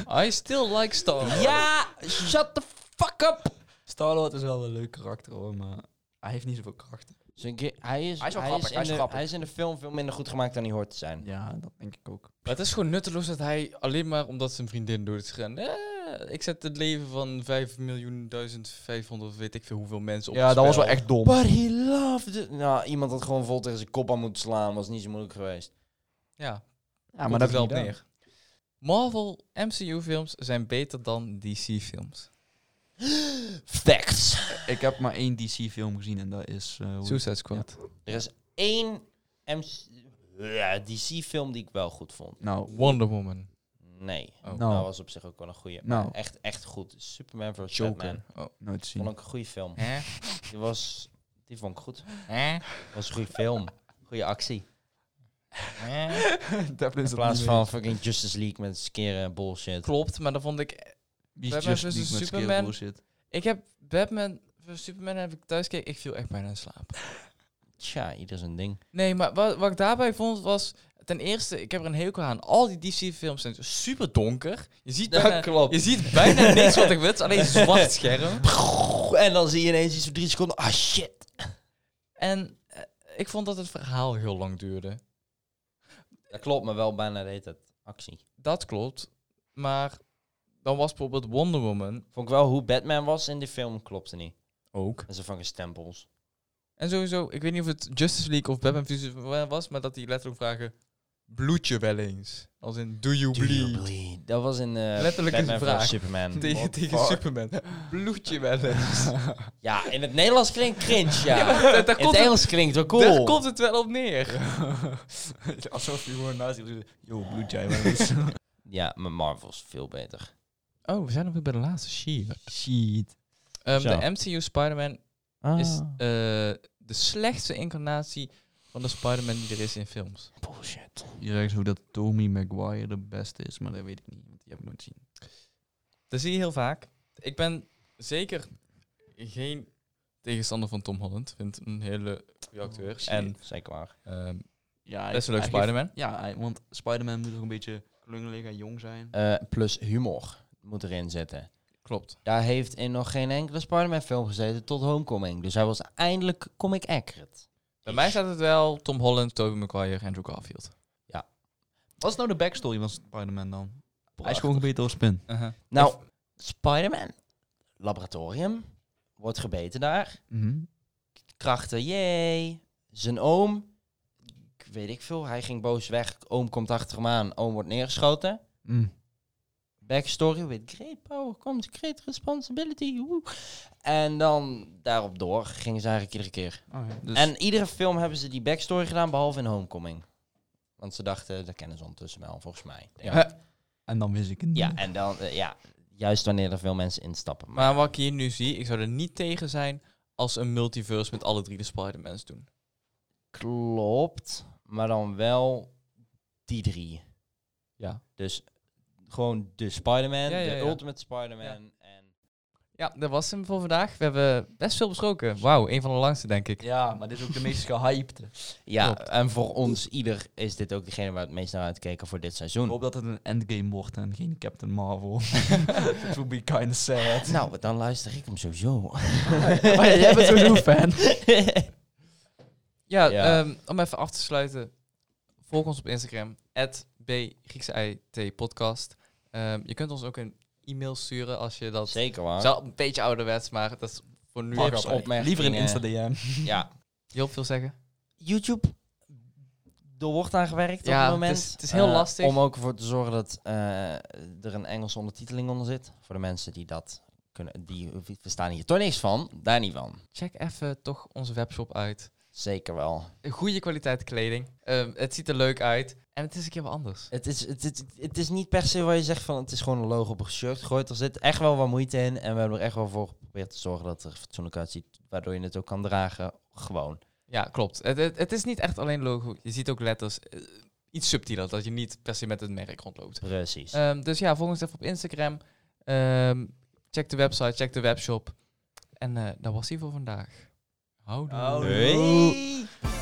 Speaker 1: I still like Star.
Speaker 2: Ja, shut the fuck up.
Speaker 3: Star-Lord is wel een leuk karakter hoor, maar hij heeft niet zoveel krachten.
Speaker 2: Zijn ge- Hij is,
Speaker 3: Hij is wel
Speaker 2: hij
Speaker 3: grappig,
Speaker 2: is
Speaker 3: hij
Speaker 2: in
Speaker 3: is
Speaker 2: de-
Speaker 3: grappig.
Speaker 2: hij is in de film veel minder goed gemaakt dan hij hoort te zijn.
Speaker 3: Ja, dat denk ik ook.
Speaker 1: Maar het is gewoon nutteloos dat hij alleen maar omdat zijn vriendin dood is gegaan. Eh, ik zet het leven van 5 miljoen duizend 500 weet ik veel hoeveel mensen op.
Speaker 3: Ja,
Speaker 1: het
Speaker 3: dat was wel
Speaker 1: spel.
Speaker 3: echt dom.
Speaker 2: But he loved it. Nou, iemand had gewoon vol tegen zijn kop aan moeten slaan. Was niet zo moeilijk geweest.
Speaker 1: Ja,
Speaker 3: Ja,
Speaker 1: maar dat wel
Speaker 3: valt
Speaker 1: op neer. Marvel MCU-films zijn beter dan DC-films.
Speaker 2: Facts.
Speaker 3: Ik heb maar één DC-film gezien en dat is... eh, hoe-
Speaker 1: Suicide Squad.
Speaker 2: Er is één MC Ja, DC-film die ik wel goed vond.
Speaker 3: Nou,
Speaker 1: Wonder Woman.
Speaker 2: Nee.
Speaker 1: Oh.
Speaker 3: Nou.
Speaker 2: Dat was op zich ook wel een goeie.
Speaker 3: Nou.
Speaker 2: Maar echt, echt goed. Superman vs. Batman.
Speaker 1: Joker. Oh.
Speaker 3: nooit
Speaker 2: Vond
Speaker 3: zien.
Speaker 2: ik een goede film.
Speaker 1: Hè?
Speaker 2: Die was... Die vond ik goed.
Speaker 1: Hè?
Speaker 2: was een goede film. Goede actie.
Speaker 1: Hè?
Speaker 3: Devlin
Speaker 2: In plaats van fucking Justice League met skeren bullshit.
Speaker 1: Klopt, maar dan vond ik...
Speaker 3: Wie
Speaker 1: Batman
Speaker 3: Justice
Speaker 1: versus
Speaker 3: League met
Speaker 1: Superman.
Speaker 3: scale bullshit.
Speaker 1: Ik heb Batman... Superman heb ik thuis gekeken. Ik viel echt bijna in slaap.
Speaker 2: Tja, ieder zijn ding.
Speaker 1: Nee, maar wat, wat ik daarbij vond was... Ten eerste, ik heb er een hekel aan. Al die DC-films zijn super donker. Je ziet bijna,
Speaker 2: klopt.
Speaker 1: je ziet bijna niks wat er gebeurt. Alleen zwart scherm.
Speaker 2: En dan zie je ineens iets voor drie seconden. Ah, shit.
Speaker 1: En eh, ik vond dat het verhaal heel lang duurde.
Speaker 2: Dat klopt, maar wel bijna de hele tijd actie.
Speaker 1: Dat klopt. Maar dan was bijvoorbeeld Wonder Woman
Speaker 2: Vond ik wel hoe Batman was in die film, klopte niet.
Speaker 1: ook.
Speaker 2: En ze vangen stempels.
Speaker 1: En sowieso, ik weet niet of het Justice League of Batman vs. Superman was, maar dat die letterlijk vragen... bloed je wel eens? Als in, do you bleed?
Speaker 2: Dat was in eh
Speaker 1: Letterlijk
Speaker 2: Batman
Speaker 1: een
Speaker 2: vs
Speaker 1: vraag.
Speaker 2: Superman.
Speaker 1: Tegen,
Speaker 3: What the
Speaker 1: tegen
Speaker 3: fuck?
Speaker 1: Superman. Bloed je wel eens?
Speaker 2: Ja, in het Nederlands klinkt cringe, ja.
Speaker 1: daar
Speaker 2: in
Speaker 1: komt
Speaker 2: het
Speaker 1: het-
Speaker 2: Engels klinkt wel cool.
Speaker 1: Daar komt het wel op neer.
Speaker 3: Alsof je gewoon naast je... Yo, bloed jij wel eens?
Speaker 2: Ja, maar Marvel is veel beter.
Speaker 1: Oh, we zijn nog weer bij de laatste. Shit.
Speaker 3: Shit.
Speaker 1: Ehm,
Speaker 2: Zo.
Speaker 1: de MCU Spider-Man
Speaker 2: Ah.
Speaker 1: is eh, de slechtste incarnatie van de Spider-Man die er is in films.
Speaker 2: bullshit.
Speaker 3: Je zegt hoe dat Tommy Maguire de beste is, maar dat weet ik niet, want die heb ik nooit gezien.
Speaker 1: Dat zie je heel vaak. Ik ben zeker geen tegenstander van Tom Holland. Vind een hele goede acteur. en
Speaker 2: Zeker waar.
Speaker 1: ehm,
Speaker 3: Ja,
Speaker 1: best een leuk
Speaker 3: hij
Speaker 1: Spider-Man.
Speaker 3: geeft- Ja, hij- want Spider-Man moet ook een beetje klungelig en jong zijn.
Speaker 2: Eh, plus humor moet erin zitten.
Speaker 1: Klopt.
Speaker 2: Daar heeft in nog geen enkele Spider-Man film gezeten tot Homecoming. Dus hij was eindelijk comic accurate.
Speaker 1: Bij mij staat het wel Tom Holland, Tobey Maguire, Andrew Garfield.
Speaker 3: Wat is nou de backstory van Spider-Man dan? Hij is
Speaker 2: Prachtig.
Speaker 3: gewoon gebeten door een spin.
Speaker 2: Nou, Spider-Man. Laboratorium. Wordt gebeten daar.
Speaker 3: Mhm.
Speaker 2: Krachten, jee. Zijn oom. Ik weet ik veel. Hij ging boos weg. Oom komt achter hem aan. Oom wordt neergeschoten.
Speaker 3: Mm.
Speaker 2: Backstory with great power comes great responsibility. Woe. En dan daarop door gingen ze eigenlijk iedere keer.
Speaker 3: Oh, ja. Dus-
Speaker 2: En iedere film hebben ze die backstory gedaan, behalve in Homecoming. Want ze dachten, dat kennen ze ondertussen wel, volgens mij. Ja,
Speaker 1: Ja.
Speaker 3: en dan wist ik het niet.
Speaker 2: ja en dan, eh, ja, juist wanneer er veel mensen instappen. Maar
Speaker 1: Maar wat ik hier nu zie, ik zou er niet tegen zijn als ze een multiverse met alle drie de Spider-Mans doen.
Speaker 2: klopt, maar dan wel die drie.
Speaker 1: Ja.
Speaker 2: Dus gewoon de Spider-Man,
Speaker 1: Ja, ja,
Speaker 2: de
Speaker 1: ja.
Speaker 2: Ultimate Spider-Man. En...
Speaker 1: Ja, dat was hem voor vandaag. We hebben best veel besproken. Wauw, een van de langste, denk ik.
Speaker 3: Ja, maar dit is ook de meest gehypte.
Speaker 2: Ja,
Speaker 1: Klopt.
Speaker 2: en voor ons ieder is dit ook degene waar we het meest naar uitkeken voor dit
Speaker 3: Ik
Speaker 2: seizoen.
Speaker 3: hoop dat het een endgame wordt en geen Captain Marvel. It would be kind of sad.
Speaker 2: Nou, dan luister ik hem sowieso.
Speaker 3: maar jij bent zo'n fan.
Speaker 1: Ja,
Speaker 2: Ja.
Speaker 1: ehm, om even af te sluiten. Volg ons op Instagram. At B podcast. Ehm, je kunt ons ook een e-mail sturen als je dat...
Speaker 2: Zeker waar.
Speaker 1: Zelf een beetje ouderwets, maar dat is voor nu...
Speaker 2: Tips, opmerkingen.
Speaker 3: Liever een Insta-DM.
Speaker 2: Ja.
Speaker 1: Joop wil zeggen.
Speaker 2: YouTube door wordt aangewerkt
Speaker 1: Ja,
Speaker 2: op het moment.
Speaker 1: het is- het is heel
Speaker 2: Eh,
Speaker 1: lastig.
Speaker 2: Om ook ervoor te zorgen dat eh, er een Engelse ondertiteling onder zit. Voor de mensen die dat kunnen. Die verstaan hier toch niks van. Daar niet van.
Speaker 1: Check even toch onze webshop uit.
Speaker 2: Zeker wel.
Speaker 1: Goede kwaliteit kleding. Ehm, het ziet er leuk uit. En het is een keer wat anders.
Speaker 2: Het is, het, het, het is niet per se waar je zegt van het is gewoon een logo op een shirt gegooid. Er zit echt wel wat moeite in. En we hebben er echt wel voor geprobeerd te zorgen dat het er fatsoenlijk uitziet. Waardoor je het ook kan dragen. Gewoon.
Speaker 1: Ja, klopt. Het, het, het is niet echt alleen logo. Je ziet ook letters. eh, iets subtieler, dat je niet per se met het merk rondloopt.
Speaker 2: Precies.
Speaker 1: Ehm, dus ja, volg ons even op Instagram. Ehm, check de website, check
Speaker 3: Oh,
Speaker 1: de webshop. En eh, dat was hij voor vandaag. Houdoe.
Speaker 3: Houdoe.
Speaker 2: Hey.